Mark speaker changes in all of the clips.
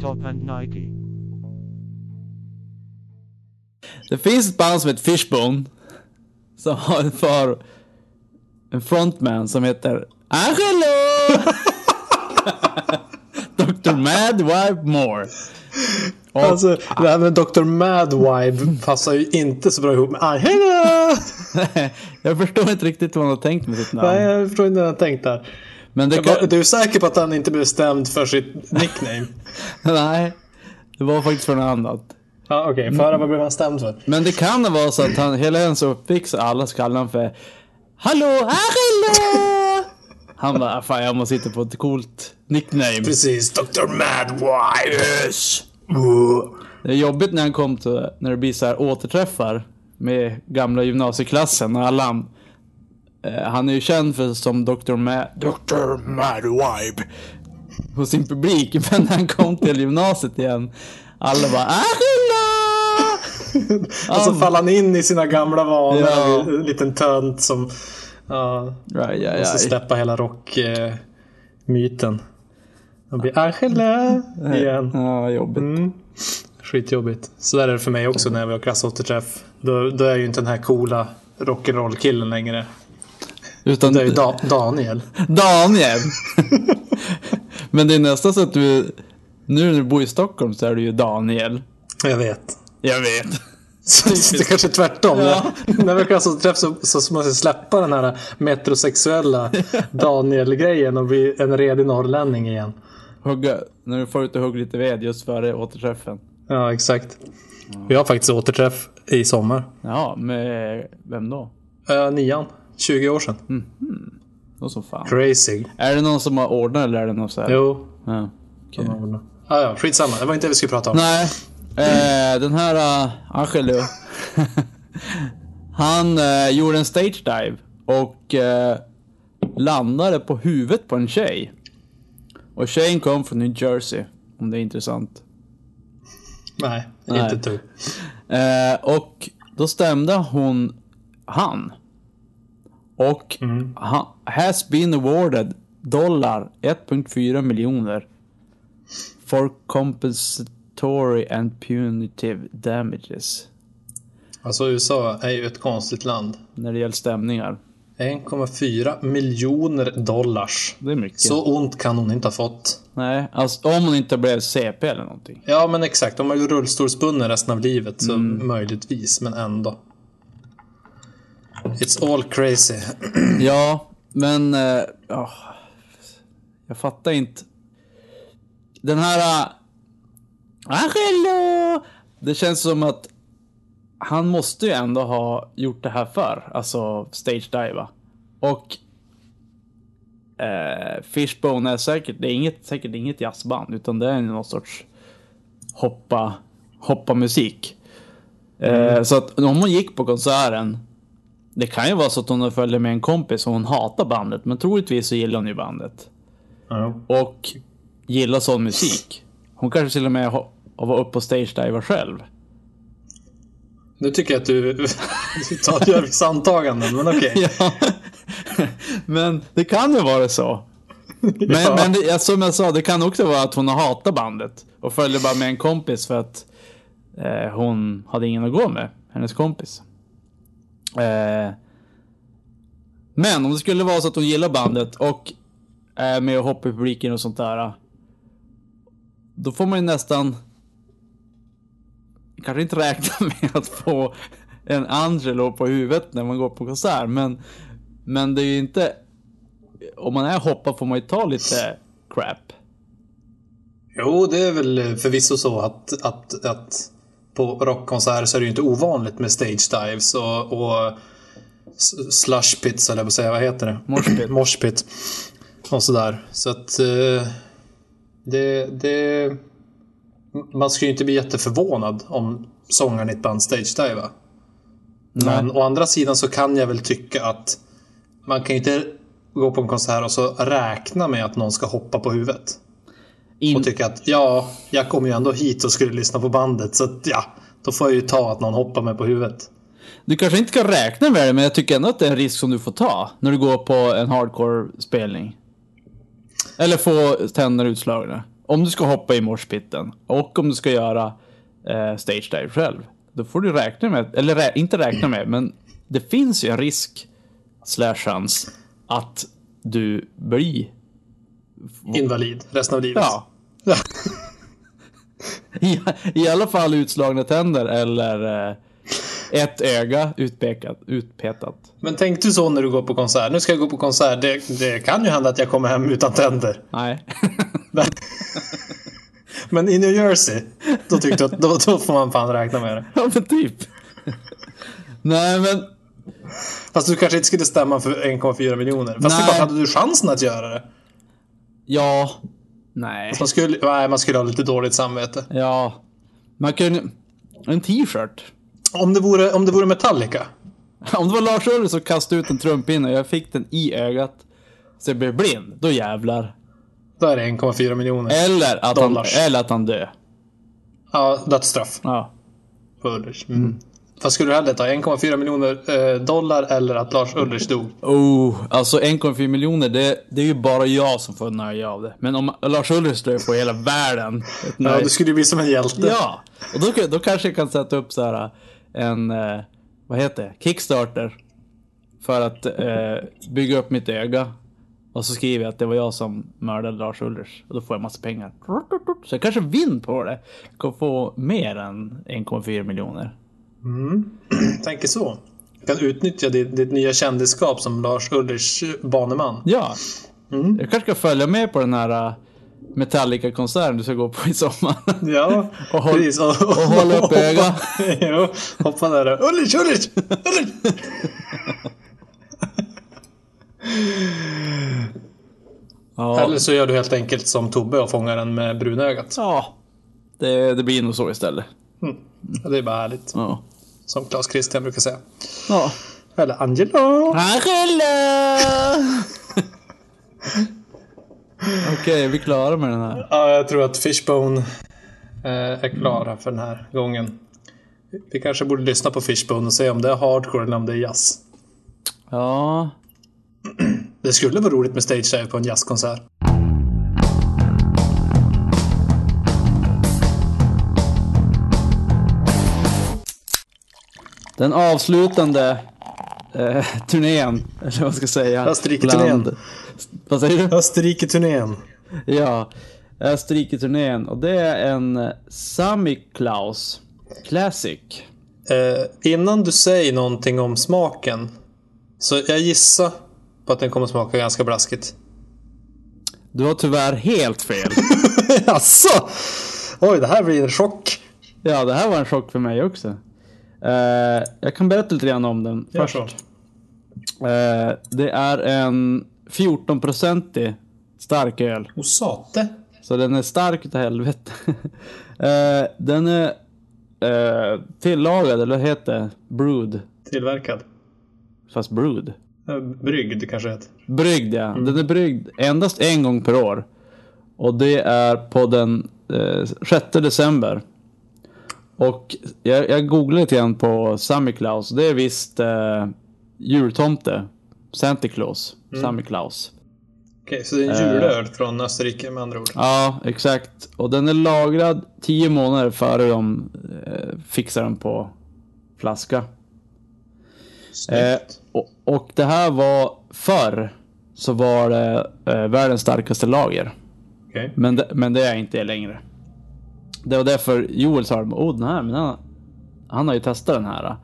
Speaker 1: Top and Nike.
Speaker 2: Det finns ett band som heter Fishbone. Som har en för... En frontman som heter Angelo! Dr. Mad Wipe Moore. Och,
Speaker 3: Alltså, det här med Dr. Madwibe passar ju inte så bra ihop med Ah, I hello!
Speaker 2: jag förstår inte riktigt vad han har tänkt med sitt
Speaker 3: Nej,
Speaker 2: namn.
Speaker 3: jag förstår inte vad jag tänkt där.
Speaker 2: Men det
Speaker 3: Var-
Speaker 2: kan...
Speaker 3: Du är säker på att han inte blev stämd för sitt nickname?
Speaker 2: Nej. Det var faktiskt för något annat.
Speaker 3: Ja, okej. Okay. Föra, vad blev han stämd för?
Speaker 2: Men det kan vara så att han, hela ens uppväxt, alla så kallade han för Hallå Angelo! Han bara, fan jag måste hitta på ett coolt nickname.
Speaker 3: Precis, Dr. Madwibe!
Speaker 2: Det är jobbigt när han kom till, när det blir så här återträffar med gamla gymnasieklassen och alla. Eh, han är ju känd för som Dr. Ma- Dr. Madwibe. Hos sin publik. Men när han kom till gymnasiet igen. Alla bara Arilla!
Speaker 3: Alltså faller han in i sina gamla vanor.
Speaker 2: Ja.
Speaker 3: En liten tönt som... Ja,
Speaker 2: Right, ja,
Speaker 3: måste
Speaker 2: ja.
Speaker 3: släppa hela rockmyten. Eh, myten. han blir Angela igen. Mm.
Speaker 2: ja, jobbigt.
Speaker 3: Skitjobbigt. Så där är det för mig
Speaker 2: Mm.
Speaker 3: också när jag var klassåterträff. Då, då är jag ju inte den här coola rock'n'roll-killen längre.
Speaker 2: Utan
Speaker 3: Det är ju da- Daniel.
Speaker 2: Daniel! Men det är nästan så att du, nu när du bor i Stockholm så är du ju Daniel.
Speaker 3: Jag vet.
Speaker 2: Jag vet.
Speaker 3: Så det är kanske är tvärtom.
Speaker 2: Ja.
Speaker 3: När jag var klassåterträff så, så måste jag släppa den här metrosexuella Daniel-grejen och bli en redig norrlänning igen.
Speaker 2: Hugga, när du får ut och hugga lite ved just före återträffen.
Speaker 3: Ja, exakt. Jag har faktiskt återträff i sommar.
Speaker 2: Ja, med vem då?
Speaker 3: Eh, nian. 20 år sedan.
Speaker 2: Mm. Någon som fan.
Speaker 3: Crazy.
Speaker 2: Är det någon som har ordnat eller är det någon så här?
Speaker 3: Jo.
Speaker 2: Ja, okej.
Speaker 3: Ah, ja, skitsamma. Det var inte det vi skulle prata om.
Speaker 2: Nej, eh, den här uh, Angelo. han eh, gjorde en stage dive och eh, landade på huvudet på en tjej. Och tjejen kom från New Jersey, om det är intressant.
Speaker 3: Nej,
Speaker 2: Nej.
Speaker 3: inte du.
Speaker 2: Eh, och då stämde hon han. Och han has been awarded dollar 1.4 miljoner. For compensatory and punitive damages.
Speaker 3: Alltså USA är ju ett konstigt land.
Speaker 2: När det gäller stämningar.
Speaker 3: 1,4 miljoner dollars.
Speaker 2: Det är mycket.
Speaker 3: Så ont kan hon inte ha fått.
Speaker 2: Nej, alltså, om hon inte blev CP eller någonting.
Speaker 3: Ja men exakt, de är ju rullstolsbunden resten av livet så
Speaker 2: Mm.
Speaker 3: möjligtvis, men ändå. It's all crazy.
Speaker 2: Ja, men... eh, ja, jag fattar inte. Den här... Uh, Angelo! Det känns som att han måste ju ändå ha gjort det här förr. Alltså stage diva. Och... eh, Fishbone är säkert, det är inget, säkert inget jazzband utan det är någon sorts hoppa, hoppa musik. Så att om hon gick på konserten det kan ju vara så att hon följer med en kompis och hon hatar bandet, men troligtvis så gillar hon ju bandet.
Speaker 3: Ja.
Speaker 2: Och gillar sån musik. Hon kanske till och med ho- var uppe på stage-diva själv.
Speaker 3: Nu tycker jag att du, du tar, gör vissa antaganden, men okej.
Speaker 2: Ja. men det kan ju vara så. Men,
Speaker 3: Ja.
Speaker 2: men det, ja, som jag sa, det kan också vara att hon har hatat bandet. Och följer bara med en kompis för att eh, hon hade ingen att gå med. Hennes kompis. Eh, men om det skulle vara så att hon gillar bandet och är med och hoppar i publiken och sånt där. Då får man ju nästan... Kanske inte räkna med att få en Angelo på huvudet när man går på konsert. Men, men det är ju inte om man är hoppa får man ju ta lite crap.
Speaker 3: Jo, det är väl förvisso så att, att, att på rockkonserter så är det ju inte ovanligt med stage dives och, och s- slush pits, eller vad säger jag, vad heter det?
Speaker 2: Moshpit.
Speaker 3: Moshpit. Och sådär. Så att eh, det, det... Man skulle ju inte bli jätteförvånad om sångaren i ett band stage diva. Men å andra sidan så kan jag väl tycka att man kan ju inte gå på en konsert och så räkna med att någon ska hoppa på huvudet
Speaker 2: In,
Speaker 3: och tycka att ja, jag kom ju ändå hit och skulle lyssna på bandet så att ja, då får jag ju ta att någon hoppar mig på huvudet.
Speaker 2: du kanske inte kan räkna med det, men jag tycker ändå att det är en risk som du får ta när du går på en hardcore-spelning. Eller få tänder utslagna. Om du ska hoppa i morspitten och om du ska göra eh, stage dive själv. Då får du räkna med, eller rä, inte räkna med, men det finns ju en risk slash chans att du blir,
Speaker 3: Invalid resten av livet.
Speaker 2: Mm. ja, i, i alla fall utslagna tänder eller eh, ett öga utpekat, utpetat.
Speaker 3: Men tänkte du så när du går på konsert? Nu ska jag gå på konsert. Det, det kan ju hända att jag kommer hem utan tänder.
Speaker 2: Nej.
Speaker 3: Men- Men i New Jersey, då, tyckte jag att, då, då får man fan räkna med det.
Speaker 2: ja, men typ. Nej, men
Speaker 3: Fast du kanske inte skulle stämma för 1,4 miljoner. Fast det
Speaker 2: Nej.
Speaker 3: är bara, hade du chansen att göra det?
Speaker 2: ja. Nej.
Speaker 3: Man skulle, nej, man skulle ha lite dåligt samvete.
Speaker 2: Ja. Man kunde... En t-shirt.
Speaker 3: Om det vore, om det vore Metallica.
Speaker 2: Om det var Lars Ulrich som kastade ut en trumpinne och jag fick den i ögat. Så jag blev blind. Då jävlar.
Speaker 3: Då är det 1,4 miljoner.
Speaker 2: Eller att, han,
Speaker 3: Dollars.
Speaker 2: eller att han dö.
Speaker 3: Ja, dödsstraff.
Speaker 2: Ja.
Speaker 3: på Ulrich. Mm. Fast skulle du hellre ta 1,4 miljoner eh, dollar eller att Lars Ulrich dog?
Speaker 2: Oh, alltså 1,4 miljoner. Det, det är ju bara jag som får nöje av det. Men om Lars Ulrich dör får hela världen ett
Speaker 3: Ja,
Speaker 2: nöje.
Speaker 3: du skulle ju bli som en hjälte.
Speaker 2: Ja, och då, kan- då kanske jag kan sätta upp så här en, eh, vad heter det, Kickstarter. För att eh, bygga upp mitt öga. Och så skriver jag att det var jag som mördade Lars Ulrich. Och då får jag massa pengar. Så jag kanske vinner på det. Kan få mer än 1,4 miljoner.
Speaker 3: Tänker så. Du kan utnyttja ditt, ditt nya kändisskap som Lars Ulrichs baneman.
Speaker 2: Ja. Jag kanske ska följa med på den här eh, Metallica-konserten du ska gå på i sommar.
Speaker 3: Ja,
Speaker 2: Och håll-
Speaker 3: precis. Och, och,
Speaker 2: hålla upp
Speaker 3: hoppa-
Speaker 2: öga.
Speaker 3: jo, hoppa där. och, Ulrich, Ulrich, Ulrich!
Speaker 2: Ja,
Speaker 3: Eller så gör du helt enkelt som Tobbe och fångar den med brunögat.
Speaker 2: ja. Det, det blir nog så istället.
Speaker 3: Ja, Det är bara härligt.
Speaker 2: Ja.
Speaker 3: Som Claes Christian brukar säga.
Speaker 2: ja.
Speaker 3: Eller Angelo!
Speaker 2: Angela! Okej, är vi klara med den här?
Speaker 3: Ja, jag tror att Fishbone eh, är klara för den här gången. Vi kanske borde lyssna på Fishbone och se om det är hardcore eller om det är jazz.
Speaker 2: Ja.
Speaker 3: Det skulle vara roligt med stage dive på en jazzkonsert.
Speaker 2: Den avslutande eh, turnén, eller vad ska jag säga?
Speaker 3: Österrike-turnén.
Speaker 2: bland- Vad säger du?
Speaker 3: Österrike-turnén.
Speaker 2: Ja, Österrike-turnén. Och det är en Sami Klaus Classic.
Speaker 3: Eh, innan du säger någonting om smaken, så jag gissar på att den kommer smaka ganska blaskigt.
Speaker 2: Du har tyvärr helt fel.
Speaker 3: Jaså? Alltså! Oj, det här blir en chock.
Speaker 2: Ja, det här var en chock för mig också. Eh, jag kan berätta lite grann om den
Speaker 3: Gör
Speaker 2: först.
Speaker 3: så.
Speaker 2: Eh, det är en 14-procentig stark öl.
Speaker 3: Och sate.
Speaker 2: Så den är stark utav helvete. Eh, den är eh, tillagad, eller vad heter det? Brewed.
Speaker 3: Tillverkad.
Speaker 2: Fast brewed.
Speaker 3: Eh, Bryggd kanske det heter.
Speaker 2: Bryggd ja. Den är bryggd endast en gång per år. Och det är på den eh, 6 december. Och jag, jag googlade lite grann på Sammy Claus. Det är visst eh, jultomte. Santa Claus. Sammy Claus.
Speaker 3: Okej, så det är en julöl från Österrike med andra ord.
Speaker 2: Ja, exakt. Och den är lagrad 10 månader före de eh, fixar den på flaska. Eh,
Speaker 3: Snyggt.
Speaker 2: och, och det här var förr så var det eh, världens starkaste lager.
Speaker 3: Okej.
Speaker 2: Men det, men det är inte det längre. Det var därför Joel sa oh, den här, men han, han har ju testat den här.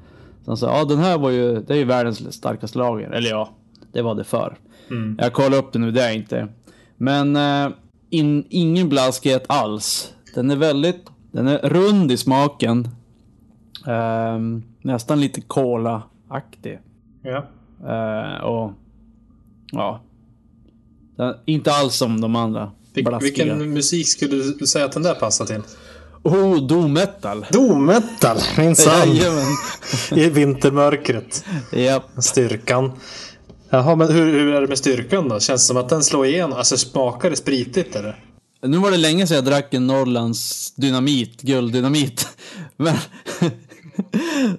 Speaker 2: Så han sa, ja den här var ju, det är ju världens starkaste lager. Eller ja, det var det för.
Speaker 3: Mm.
Speaker 2: Jag kollar upp det nu, det är inte. Men eh, in, ingen blaskighet alls. Den är väldigt, den är rund i smaken. Ehm, nästan lite cola-aktig.
Speaker 3: Ja.
Speaker 2: Eh, och ja. Den, inte alls som de andra.
Speaker 3: Vil-
Speaker 2: blaskiga.
Speaker 3: vilken musik skulle du säga att den där passar till?
Speaker 2: Oh, doom-metal.
Speaker 3: Doom-metal, minsann.
Speaker 2: Jajamän.
Speaker 3: I vintermörkret.
Speaker 2: Japp.
Speaker 3: Styrkan. Jaha, men hur, hur är det med styrkan då? Känns det som att den slår igenom? Alltså smakar det spritigt eller?
Speaker 2: Nu var det länge sedan jag drack en Norrlands dynamit, gulddynamit. Men,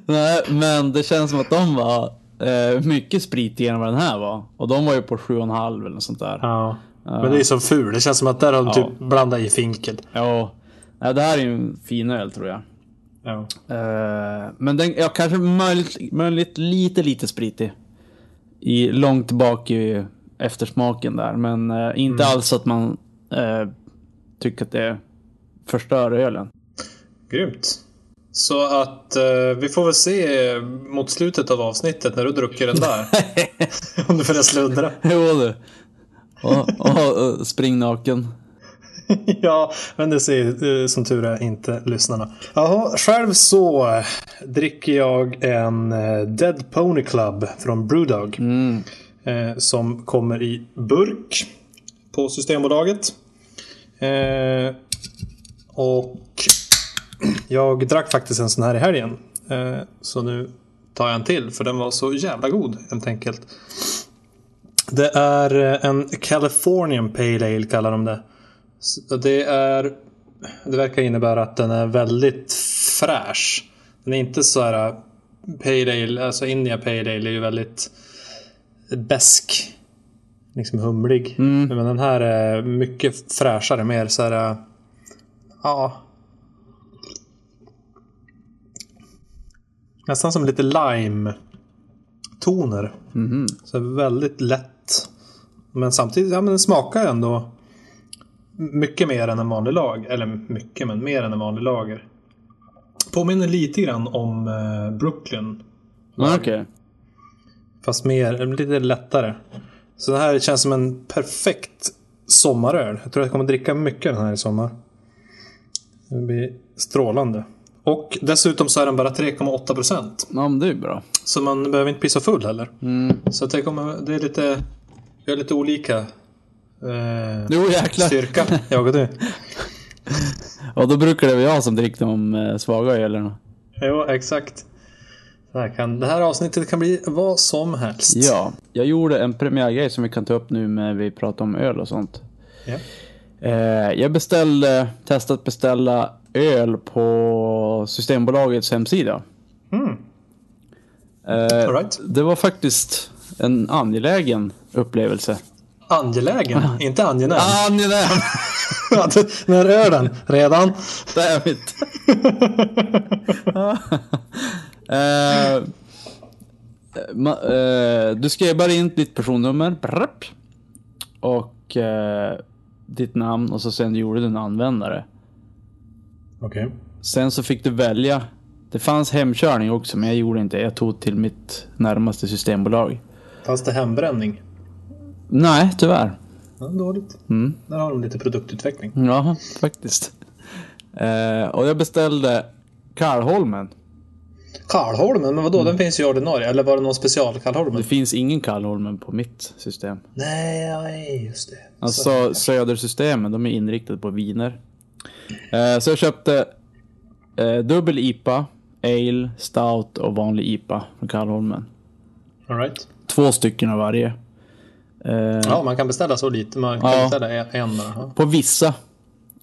Speaker 2: Nej, men det känns som att de var eh, mycket spritigare än vad den här var. Och de var ju på 7,5 eller något sånt där.
Speaker 3: Ja. Men det är ju så ful. Det känns som att där har de typ blandat i finkel.
Speaker 2: Ja, ja, det här är ju en fin öl tror jag.
Speaker 3: Ja.
Speaker 2: Eh, men den, ja, kanske möjligt, möjligt lite, lite spritig. I, långt bak i eftersmaken där. Men eh, inte alls att man eh, tycker att det förstör ölen.
Speaker 3: Grymt. Så att eh, vi får väl se eh, mot slutet av avsnittet när du druckit den där. Om du börjar sluddra.
Speaker 2: Jo du. Och, och, och spring naken.
Speaker 3: ja, men det ser eh, som tur är inte lyssnarna. Jaha, själv så eh, dricker jag en eh, Dead Pony Club från Brewdog. Eh, som kommer i burk på Systembolaget. Eh, och jag drack faktiskt en sån här i helgen. Eh, så nu tar jag en till för den var så jävla god helt enkelt. Det är eh, en Californian Pale Ale kallar de det. Så Det är... Det verkar innebära att den är väldigt fräsch. Den är inte så här... eh, Pale Ale, alltså India Pale Ale är ju väldigt besk. Liksom humlig. Men den här är mycket fräschare, mer så här... eh, Ja. Nästan som lite lime-toner.
Speaker 2: Mhm.
Speaker 3: Så väldigt lätt. Men samtidigt, ja men den smakar ju ändå mycket mer än en vanlig lager. Eller mycket, men mer än en vanlig lager. Påminner lite grann om eh, Brooklyn.
Speaker 2: Ja, Okej.
Speaker 3: Fast mer, lite lättare. Så det här känns som en perfekt sommaröl. Jag tror jag kommer dricka mycket av den här i sommar. Det blir strålande. Och dessutom så är den bara 3,8 procent.
Speaker 2: Ja, men det är ju bra.
Speaker 3: Så man behöver inte bli så full heller.
Speaker 2: Mm.
Speaker 3: Så att det, kommer, det är lite... Vi har lite olika eh,
Speaker 2: Jo jäklar.
Speaker 3: styrka, jag och du.
Speaker 2: Och då brukar det vara jag som dricker de eh, svaga ölerna.
Speaker 3: Jo, exakt. Det här, kan, det här avsnittet kan bli vad som helst.
Speaker 2: Ja, jag gjorde en premiärgrej som vi kan ta upp nu när vi pratar om öl och sånt.
Speaker 3: Ja.
Speaker 2: Eh, jag beställde, testade att beställa öl på Systembolagets hemsida. Eh,
Speaker 3: Mm. All right.
Speaker 2: Det var faktiskt en angelägen upplevelse.
Speaker 3: Angelägen, inte angenäm.
Speaker 2: Ah. Angenäm!
Speaker 3: När är den? Redan?
Speaker 2: Damn it. Eh, ma- eh, du skrev bara in ditt personnummer. Brapp. Och eh, ditt namn och så sen gjorde du en användare.
Speaker 3: Okej.
Speaker 2: Sen så fick du välja. Det fanns hemkörning också, men jag gjorde inte. Jag tog till mitt närmaste systembolag.
Speaker 3: Fanns det hembränning?
Speaker 2: Nej, tyvärr.
Speaker 3: Ja, dåligt.
Speaker 2: Mm.
Speaker 3: Där har de lite produktutveckling.
Speaker 2: Ja, faktiskt. Eh, och jag beställde Karlholmen.
Speaker 3: Karlholmen, men vadå? Den finns ju i ordinarie. Eller var det någon special Karlholmen?
Speaker 2: Mm. Det finns ingen Karlholmen på mitt system.
Speaker 3: Nej, nej, just det.
Speaker 2: Alltså Södersystemen, de är inriktade på viner. Eh, så jag köpte eh, dubbel IPA, ale, stout och vanlig IPA från Karlholmen.
Speaker 3: All right.
Speaker 2: Två stycken av varje. Eh,
Speaker 3: Ja, man kan beställa så lite. Man kan
Speaker 2: Ja.
Speaker 3: beställa en- en bara. Ja.
Speaker 2: På vissa. Eh,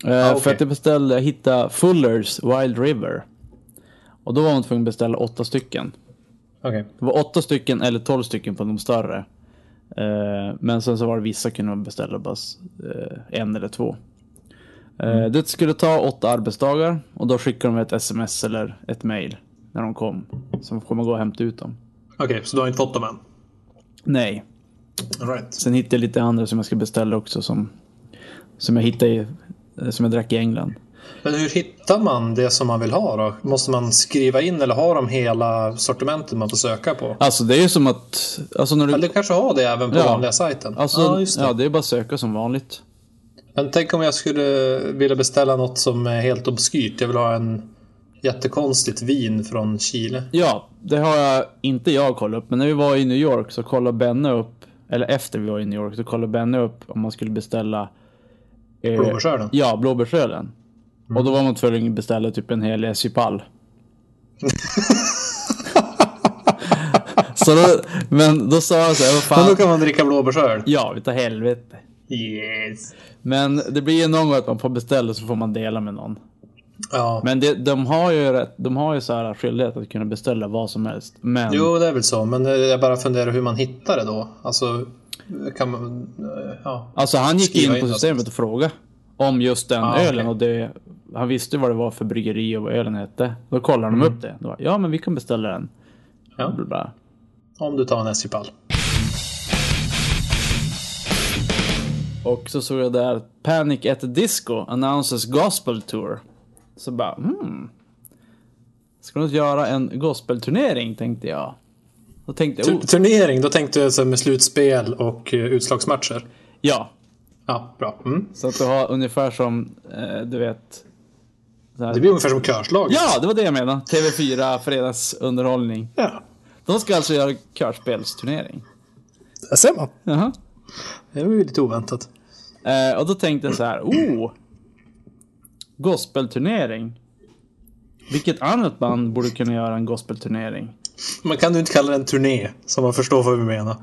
Speaker 2: För
Speaker 3: Ah, okej.
Speaker 2: att jag beställde, jag hittade Fullers Wild River. Och då var man tvungen att beställa åtta stycken.
Speaker 3: Okej.
Speaker 2: Det var åtta stycken eller tolv stycken på de större. Eh, men sen så var det vissa kunde man beställa bara s- eh, en eller två. Eh, Det skulle ta åtta arbetsdagar och då skickade de ett sms eller ett mail när de kom. Så får man gå och hämta ut dem.
Speaker 3: Okej, så du har inte fått dem än?
Speaker 2: Nej,
Speaker 3: All right.
Speaker 2: sen hittade jag lite andra som jag ska beställa också som, som jag hittade i, eh, som jag drack i England.
Speaker 3: Men hur hittar man det som man vill ha då? Måste man skriva in eller har de hela sortimentet man får söka på?
Speaker 2: Alltså det är ju som att... Alltså när du...
Speaker 3: Eller kanske har det även på
Speaker 2: Ja.
Speaker 3: vanliga sajten?
Speaker 2: Alltså,
Speaker 3: ja, just det.
Speaker 2: ja, det är bara att söka som vanligt.
Speaker 3: Men tänk om jag skulle vilja beställa något som är helt obskyrt. Jag vill ha en jättekonstigt vin från Chile.
Speaker 2: Ja, det har jag inte jag kollat upp. Men när vi var i New York så kollade Benne upp, eller efter vi var i New York så kollade Benne upp om man skulle beställa eh,
Speaker 3: Blåbärsölen? Mm.
Speaker 2: Ja, blåbärsölen. Och då var man tvungen att beställa typ en hel essypall. så då, men då sa jag så här, vad
Speaker 3: Men
Speaker 2: fan.
Speaker 3: då kan man dricka blåbärsöl.
Speaker 2: Ja, vi tar helvete.
Speaker 3: Yes.
Speaker 2: Men det blir ju någon gång att man får beställa så får man dela med någon.
Speaker 3: Ja.
Speaker 2: Men det, de har ju, rätt, de har ju så här skyldighet att kunna beställa vad som helst. Men
Speaker 3: eh, Jo, det är väl så. Men jag bara funderar hur man hittar det då. Alltså, kan man... eh, Ja.
Speaker 2: Alltså han gick
Speaker 3: Skriva
Speaker 2: in på
Speaker 3: in något.
Speaker 2: systemet och frågade om just den
Speaker 3: Ah, okej.
Speaker 2: ölen och det, han visste vad det var för bryggeri och vad ölen hette. Då kollade de upp det. Då, bara, ja, men vi kan beställa den.
Speaker 3: Ja.
Speaker 2: Bla, bla.
Speaker 3: Om du tar en SJ-pall.
Speaker 2: Och så såg jag där Panic at the Disco announces gospel tour. Så bara, hmm. Ska de inte göra en gospelturnering tänkte jag. Då tänkte jag,
Speaker 3: Tu-
Speaker 2: oh,
Speaker 3: Turnering, då tänkte jag så här med slutspel och eh, utslagsmatcher.
Speaker 2: ja.
Speaker 3: Ja, bra. Mm.
Speaker 2: Så att du har ungefär som, eh, du vet. så här-
Speaker 3: Det blir ungefär som körslag.
Speaker 2: Ja, det var det jag menade. TV4 fredagsunderhållning.
Speaker 3: ja.
Speaker 2: De ska alltså göra körspelsturnering.
Speaker 3: Där ser man.
Speaker 2: Jaha.
Speaker 3: Det var ju lite oväntat.
Speaker 2: Eh, och då tänkte jag så här, oh! Gospelturnering. Vilket annat band borde kunna göra en gospelturnering?
Speaker 3: Man kan ju inte kalla det en turné, så man förstår vad vi menar.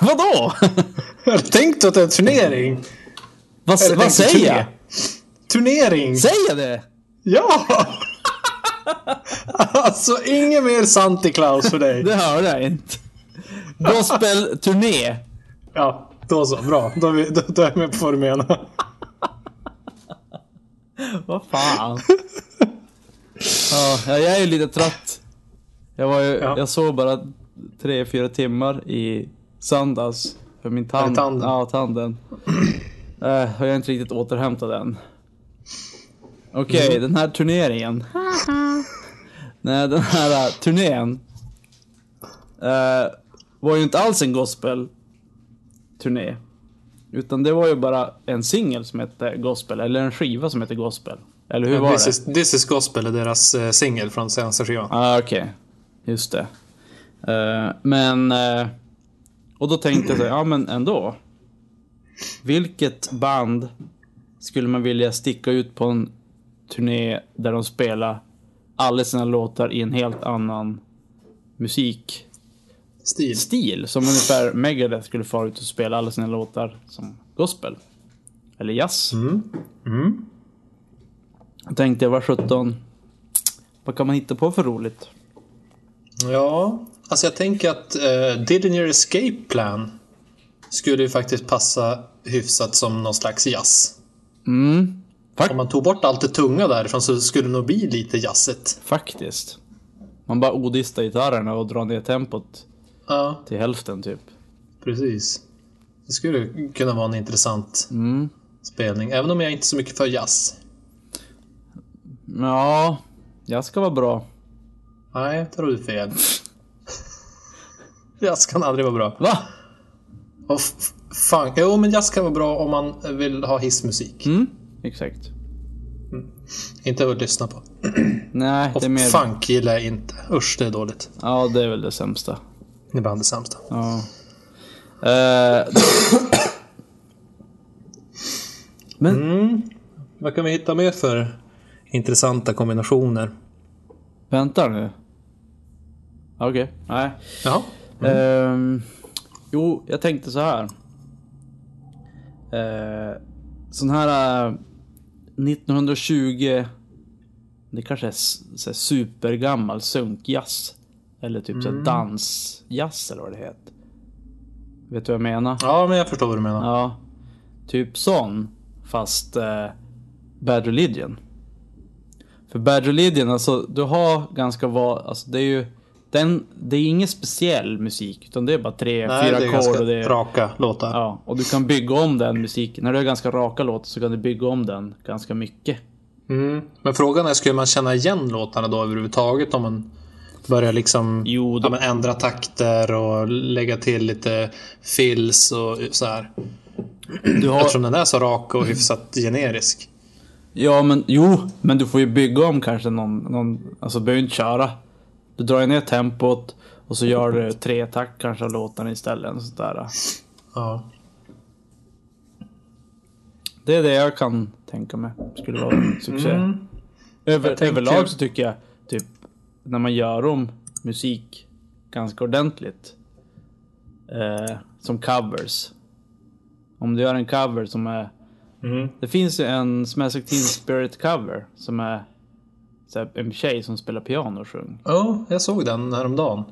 Speaker 2: Vadå?
Speaker 3: Jag tänkte att det är en turnering.
Speaker 2: vad
Speaker 3: Eller
Speaker 2: vad
Speaker 3: tänkte
Speaker 2: säger
Speaker 3: turné.
Speaker 2: jag?
Speaker 3: Turnering!
Speaker 2: Säger jag det?
Speaker 3: Ja! alltså, inget mer sant i Klaus för dig.
Speaker 2: Det hörde jag inte. Gospelturné.
Speaker 3: Ja, då så. Bra. Då är, vi, då, då är jag med på vad du menar.
Speaker 2: Vad fan. Ja, jag är ju lite trött. Jag, var ju,
Speaker 3: Ja.
Speaker 2: jag sov bara tre fyra timmar i söndags. För min tand.
Speaker 3: tanden?
Speaker 2: Ja, tanden. Eh, och jag är inte riktigt återhämtad än. Okej, den här turneringen. Nej, den här eh, turnén. eh, var ju inte alls en gospelturné. Utan det var ju bara en singel som hette Gospel, eller en skiva som hette Gospel. Eller hur var
Speaker 3: This
Speaker 2: det?
Speaker 3: is, this is Gospel är deras eh, singel från senaste skivan.
Speaker 2: Ja, ah, okej. Just det. Eh, men... eh, och då tänkte jag så här, ja men ändå. Vilket band skulle man vilja sticka ut på en turné där de spelar alla sina låtar i en helt annan musikstil?
Speaker 3: Stil.
Speaker 2: Som ungefär Megadeth skulle fara ut och spela alla sina låtar som gospel. Eller jazz.
Speaker 3: Mm.
Speaker 2: Då tänkte jag, var 17. Vad kan man hitta på för roligt?
Speaker 3: Ja, alltså jag tänker att uh, Didn't Escape Plan skulle ju faktiskt passa hyfsat som någon slags jazz.
Speaker 2: Mm,
Speaker 3: Om man tog bort allt det tunga därifrån så skulle det nog bli lite jazzigt.
Speaker 2: faktiskt. Man bara odistar gitarrerna och drar ner tempot
Speaker 3: Ja,
Speaker 2: till hälften typ.
Speaker 3: precis. Det skulle kunna vara en intressant
Speaker 2: Mm.
Speaker 3: spelning, även om jag inte är så mycket för jazz.
Speaker 2: Ja, jag ska vara bra.
Speaker 3: Nej, där har du fel. jazz kan aldrig vara bra.
Speaker 2: Va?
Speaker 3: Och f- f- fan, jo, men jazz kan vara bra om man vill ha hissmusik.
Speaker 2: Mm, exakt.
Speaker 3: Inte att lyssna på.
Speaker 2: Nej, det är mer...
Speaker 3: Funk gillar jag inte. Usch, det är dåligt.
Speaker 2: Ja, det är väl det sämsta.
Speaker 3: Det är bland det sämsta.
Speaker 2: Ja. Eh,
Speaker 3: Vad kan vi hitta mer för intressanta kombinationer?
Speaker 2: vänta nu. Okej, nej.
Speaker 3: Jaha.
Speaker 2: Ehm, jo, jag tänkte så här. Eh, sån här eh, 1920. Det kanske är s- så här supergammal sunkjazz. Eller typ så här dansjazz eller vad det heter. Vet du vad jag menar?
Speaker 3: Ja, men jag förstår vad du menar.
Speaker 2: Ja. Typ sån. Fast eh, Bad Religion. För Bad Religion, alltså du har ganska va... Alltså det är ju... Den, det är ingen speciell musik. Utan det är bara tre,
Speaker 3: Nej,
Speaker 2: fyra
Speaker 3: det är
Speaker 2: ackord
Speaker 3: ganska
Speaker 2: och det är...
Speaker 3: raka låtar.
Speaker 2: Ja, och du kan bygga om den musiken. När du har ganska raka låtar så kan du bygga om den ganska mycket.
Speaker 3: Mm. Men frågan är, skulle man känna igen låtarna då överhuvudtaget om man börjar liksom
Speaker 2: Jo, då-
Speaker 3: ja, men ändra takter och lägga till lite fills och så här.
Speaker 2: Du har,
Speaker 3: Eftersom den är så rak och hyfsat generisk.
Speaker 2: Ja, men jo, men du får ju bygga om kanske någon, någon alltså du behöver ju inte köra. Du drar ju ner tempot och så gör du tre tack kanske av låtarna istället. och Sånt där.
Speaker 3: Ja.
Speaker 2: Det är det jag kan tänka mig skulle vara en succé. Över,
Speaker 3: Mm. Jag tänker-
Speaker 2: Överlag så tycker jag typ när man gör om musik ganska ordentligt. Eh, som covers. Om du gör en cover som är...
Speaker 3: Mm.
Speaker 2: Det finns ju en Smash Teen Spirit cover som är så här, en tjej som spelar piano och sjunger.
Speaker 3: Ja, jag såg den häromdagen.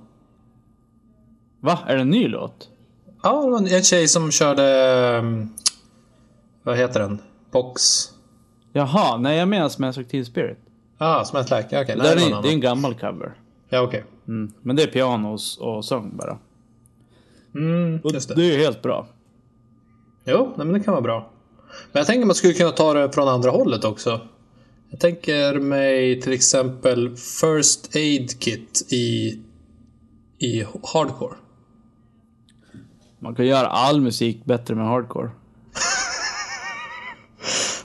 Speaker 2: Va? Är det en ny låt?
Speaker 3: Ja, det var en- en tjej som körde... ehm, Vad heter den? Box...
Speaker 2: Jaha, nej jag menar Smash Till Spirit.
Speaker 3: Ah, Smash Like. Okej,
Speaker 2: Det,
Speaker 3: nej,
Speaker 2: är,
Speaker 3: det var en
Speaker 2: det är en
Speaker 3: annan.
Speaker 2: gammal cover.
Speaker 3: Ja, okej.
Speaker 2: Mm. Men det är piano och, och sång bara.
Speaker 3: Mm,
Speaker 2: Och
Speaker 3: just det.
Speaker 2: det är ju helt bra.
Speaker 3: Jo, nej, men det kan vara bra. Men jag tänker man skulle kunna ta det från andra hållet också. Jag tänker mig till exempel First Aid Kit i, i Hardcore.
Speaker 2: Man kan göra all musik bättre med hardcore.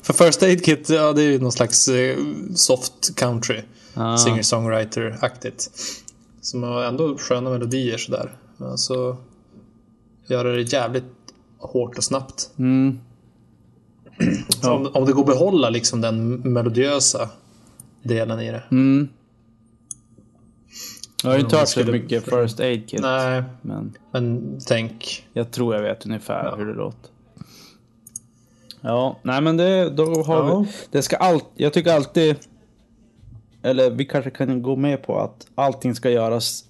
Speaker 3: För First Aid Kit, ja det är ju någon slags eh, soft country.
Speaker 2: Ah.
Speaker 3: Singer-songwriter-aktigt. Som har ändå sköna melodier sådär. Men så gör det jävligt hårt och snabbt.
Speaker 2: Mm.
Speaker 3: Så Om, om det går att behålla liksom den melodiösa delen i det.
Speaker 2: Mm. Jag har ju inte
Speaker 3: om
Speaker 2: hört
Speaker 3: vi
Speaker 2: så
Speaker 3: skulle-
Speaker 2: mycket First Aid Kit.
Speaker 3: Nej,
Speaker 2: Men
Speaker 3: men tänk.
Speaker 2: jag tror jag vet ungefär hur det låter. Ja, nej men det, då har
Speaker 3: Ja.
Speaker 2: vi. Det ska allt, jag tycker alltid. Eller vi kanske kan gå med på att allting ska göras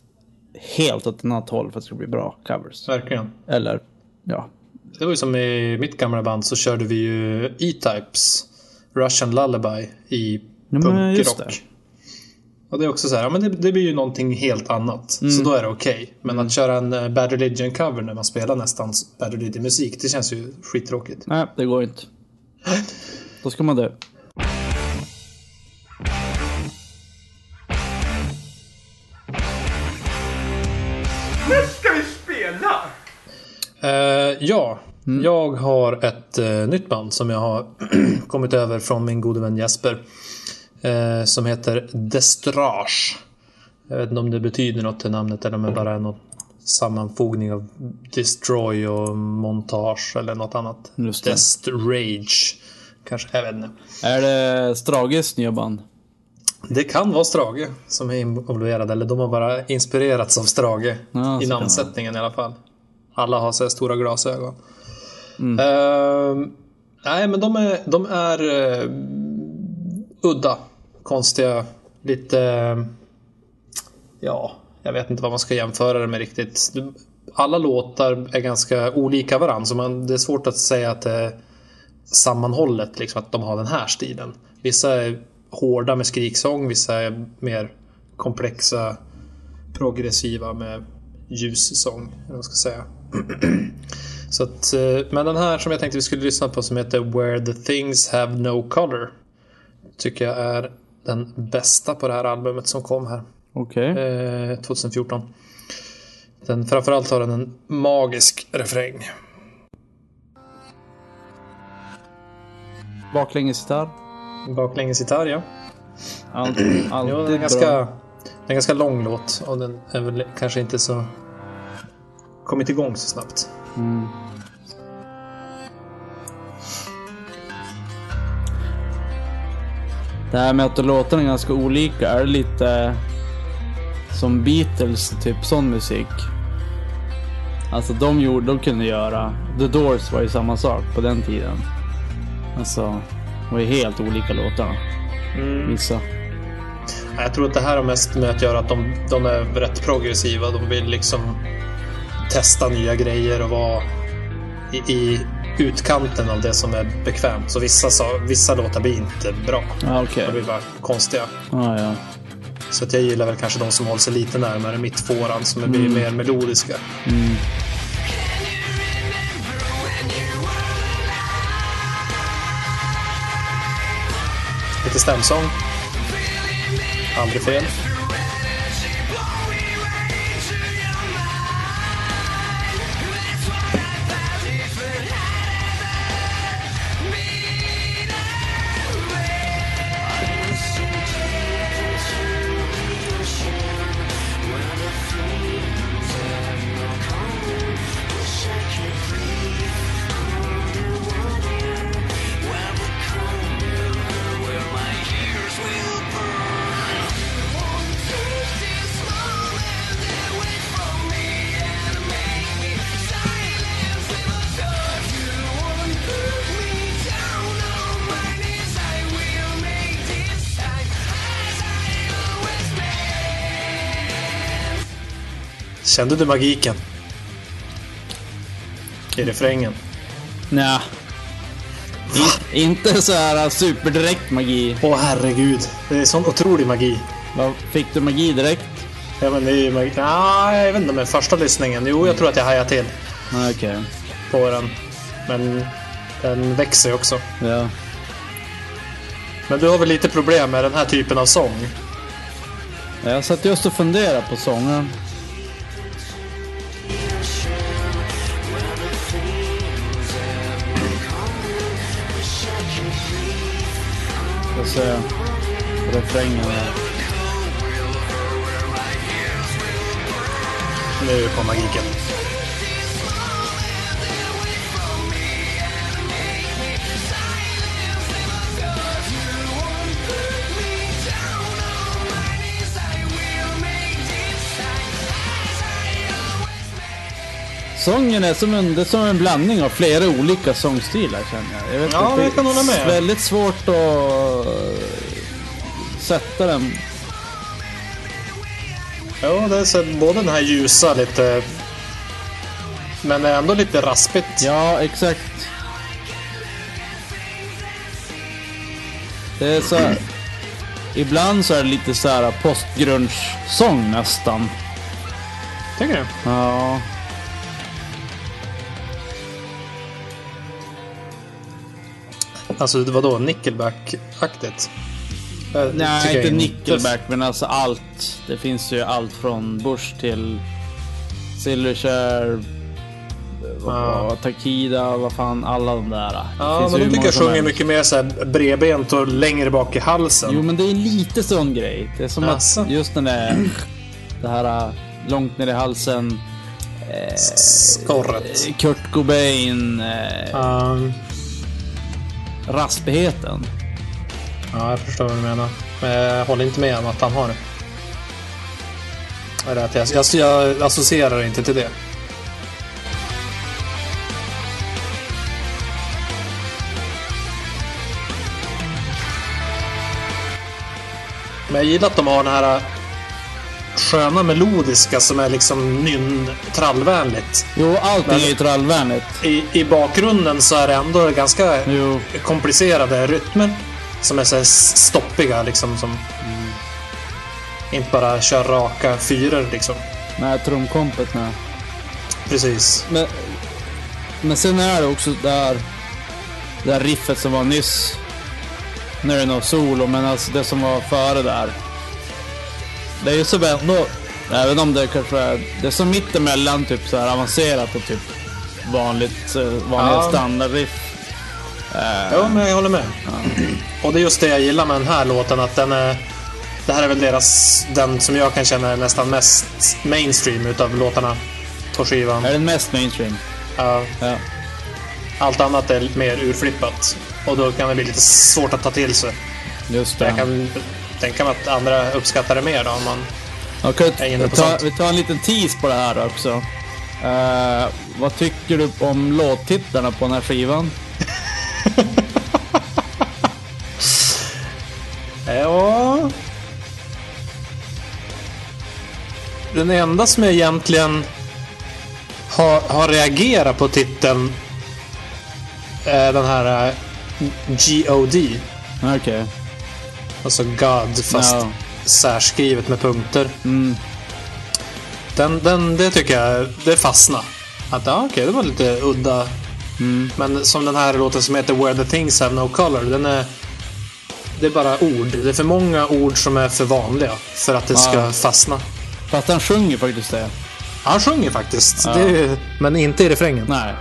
Speaker 2: helt åt ett annat håll för att det ska bli bra covers.
Speaker 3: Verkligen.
Speaker 2: Eller ja.
Speaker 3: Det var ju som i mitt gamla band så körde vi ju E-Types Russian Lullaby i
Speaker 2: men just
Speaker 3: punkrock.
Speaker 2: det.
Speaker 3: Och det är också så här, ja, men det, det blir ju någonting helt annat.
Speaker 2: Mm.
Speaker 3: Så då är det okej. Men att köra en eh, Bad Religion-cover när man spelar nästan s- Bad Religion-musik, det känns ju skittråkigt.
Speaker 2: Nej, det går inte. Då ska man dö.
Speaker 1: ska vi spela?
Speaker 3: Eh, ja,
Speaker 2: Mm.
Speaker 3: jag har ett eh, nytt band som jag har kommit över från min gode vän Jesper. eh, som heter Destrage. Jag vet inte om det betyder något i namnet eller om det bara är någon sammanfogning av Destroy och montage eller något annat.
Speaker 2: Just det.
Speaker 3: Destrage. Kanske, jag vet inte.
Speaker 2: Är det Strages nya band?
Speaker 3: Det kan vara Strage som är involverad, eller de har bara inspirerats av Strage.
Speaker 2: Ja,
Speaker 3: I
Speaker 2: så kan
Speaker 3: namnsättningen i alla fall. Alla har så här stora glasögon.
Speaker 2: Mm.
Speaker 3: Ehm, nej, men de är, de är eh, udda, konstiga, lite... eh, ja, jag vet inte vad man ska jämföra det med riktigt. Alla låtar är ganska olika varandra, så man, det är svårt att säga att det är sammanhållet, liksom, att de har den här stilen. Vissa är hårda med skriksång, vissa är mer komplexa, progressiva med ljus sång, eller vad man ska säga. Så att, eh, men den här som jag tänkte vi skulle lyssna på som heter Where the things have no color tycker jag är den bästa på det här albumet som kom här
Speaker 2: Okej.
Speaker 3: eh, 2014. Den, framförallt har den en magisk refräng.
Speaker 2: Baklängesgitarr.
Speaker 3: Baklängesgitarr, ja.
Speaker 2: Allt,
Speaker 3: Jo,
Speaker 2: alltid
Speaker 3: den, är ganska,
Speaker 2: bra.
Speaker 3: den är ganska lång låt och den är väl kanske inte så... kommit igång så snabbt.
Speaker 2: Det här med att låtarna är ganska olika, är det lite som Beatles, typ sån musik? Alltså de, gjorde, de kunde göra, The Doors var ju samma sak på den tiden. Alltså, det var ju helt olika låtar. Vissa.
Speaker 3: Nej, Jag tror att det här har mest med att göra att de, de är rätt progressiva. De vill liksom testa nya grejer och vara i, i utkanten av det som är bekvämt. Så vissa, sa- vissa låtar blir inte bra.
Speaker 2: Ja, okej.
Speaker 3: De blir bara konstiga.
Speaker 2: Ja, ja.
Speaker 3: Så att jag gillar väl kanske de som håller sig lite närmare mittfåran som blir mer melodiska. Mm. Lite stämsång. Aldrig fel. Kände du magiken? i refrängen.
Speaker 2: Nja. In, inte så här superdirekt magi.
Speaker 3: Åh herregud, det är sån otrolig magi.
Speaker 2: Vad- Fick du magi direkt?
Speaker 3: Ja, men det är ju magi. Ja, jag vet inte, men första lyssningen. Jo, jag tror att jag hajar till
Speaker 2: Nej, Okej.
Speaker 3: på den. Men den växer ju också.
Speaker 2: Ja.
Speaker 3: Men du har väl lite problem med den här typen av sång?
Speaker 2: Jag satt just och funderade på sången. Ska se. Refrängen här.
Speaker 3: Nu kom magiken.
Speaker 2: Sången är som en, det är som en blandning av flera olika sångstilar känner jag. jag vet
Speaker 3: Ja,
Speaker 2: inte,
Speaker 3: jag kan hålla med.
Speaker 2: Det är väldigt svårt att sätta den.
Speaker 3: Ja, det är så både den här ljusa lite... Men är ändå lite raspigt.
Speaker 2: Ja, exakt. Det är så här. Ibland så är det lite så här postgrunge-sång nästan.
Speaker 3: Tycker du?
Speaker 2: Ja.
Speaker 3: Alltså vadå, nickelback-aktigt? Eh, tycker
Speaker 2: Nej,
Speaker 3: jag
Speaker 2: inte Nickelback, men alltså allt. Det finns ju allt från Bush till Silverchair,
Speaker 3: Ja.
Speaker 2: ja. Takida, vad fan, alla de där. Det
Speaker 3: Ja,
Speaker 2: finns
Speaker 3: men
Speaker 2: ju hur
Speaker 3: de tycker
Speaker 2: många
Speaker 3: jag
Speaker 2: som
Speaker 3: sjunger
Speaker 2: helst.
Speaker 3: mycket mer så här bredbent och längre bak i halsen.
Speaker 2: Jo, men det är lite sån grej. Det är som
Speaker 3: Asså.
Speaker 2: att just den där, det här äh, långt ner i halsen,
Speaker 3: Skorret.
Speaker 2: eh, Kurt Cobain, eh,
Speaker 3: Ehm,
Speaker 2: raspigheten.
Speaker 3: ja, jag förstår vad du menar. Men jag håller inte med om att han har det. Eller att jag, jag, jag associerar inte till det. Men jag gillar att de har den här äh, sköna melodiska som är liksom nynn trallvänligt.
Speaker 2: Jo, allting är ju trallvänligt.
Speaker 3: I, I bakgrunden så är det ändå ganska
Speaker 2: Jo,
Speaker 3: komplicerade rytmer som är så här stoppiga liksom. Som, Inte bara kör raka fyror liksom.
Speaker 2: nej, trumkompet nej.
Speaker 3: Precis.
Speaker 2: Men, men sen är det också där, det där riffet som var nyss. Nu är det nog solo, men alltså det som var före där. Det är ju som ändå, även om det kanske är, det är som mittemellan typ så här avancerat och typ vanligt, eh, vanliga
Speaker 3: Ja.
Speaker 2: standardriff.
Speaker 3: Ja, men jag håller med. Och det är just det jag gillar med den här låten. Att den är... Det här är väl deras... Den som jag kan känna är nästan mest mainstream utav låtarna på skivan.
Speaker 2: Är den mest mainstream?
Speaker 3: Ja,
Speaker 2: Ja.
Speaker 3: allt annat är mer urflippat. Och då kan det bli lite svårt att ta till sig.
Speaker 2: Just
Speaker 3: Jag
Speaker 2: det.
Speaker 3: kan tänka mig att andra uppskattar det mer då. Om man...
Speaker 2: Okej,
Speaker 3: Jag är inne
Speaker 2: vi,
Speaker 3: på
Speaker 2: tar,
Speaker 3: sånt.
Speaker 2: vi tar en liten tease på det här också. Eh, vad tycker du om låttitlarna på den här skivan?
Speaker 3: Ja. Den enda som jag egentligen har, har reagerat på titeln är den här eh, GOD.
Speaker 2: Okej.
Speaker 3: Alltså God fast
Speaker 2: Ja.
Speaker 3: särskrivet med punkter.
Speaker 2: Mm.
Speaker 3: Den, den, det tycker jag, det fastnade. Att ja, okej, det var lite udda. Men som den här låten som heter Where the things have no color. Den är, det är bara ord. Det är för många ord som är för vanliga för att det ska
Speaker 2: Ja.
Speaker 3: fastna.
Speaker 2: Fast han sjunger faktiskt det.
Speaker 3: Han sjunger faktiskt. Det är, men inte i refrängen.
Speaker 2: Nej.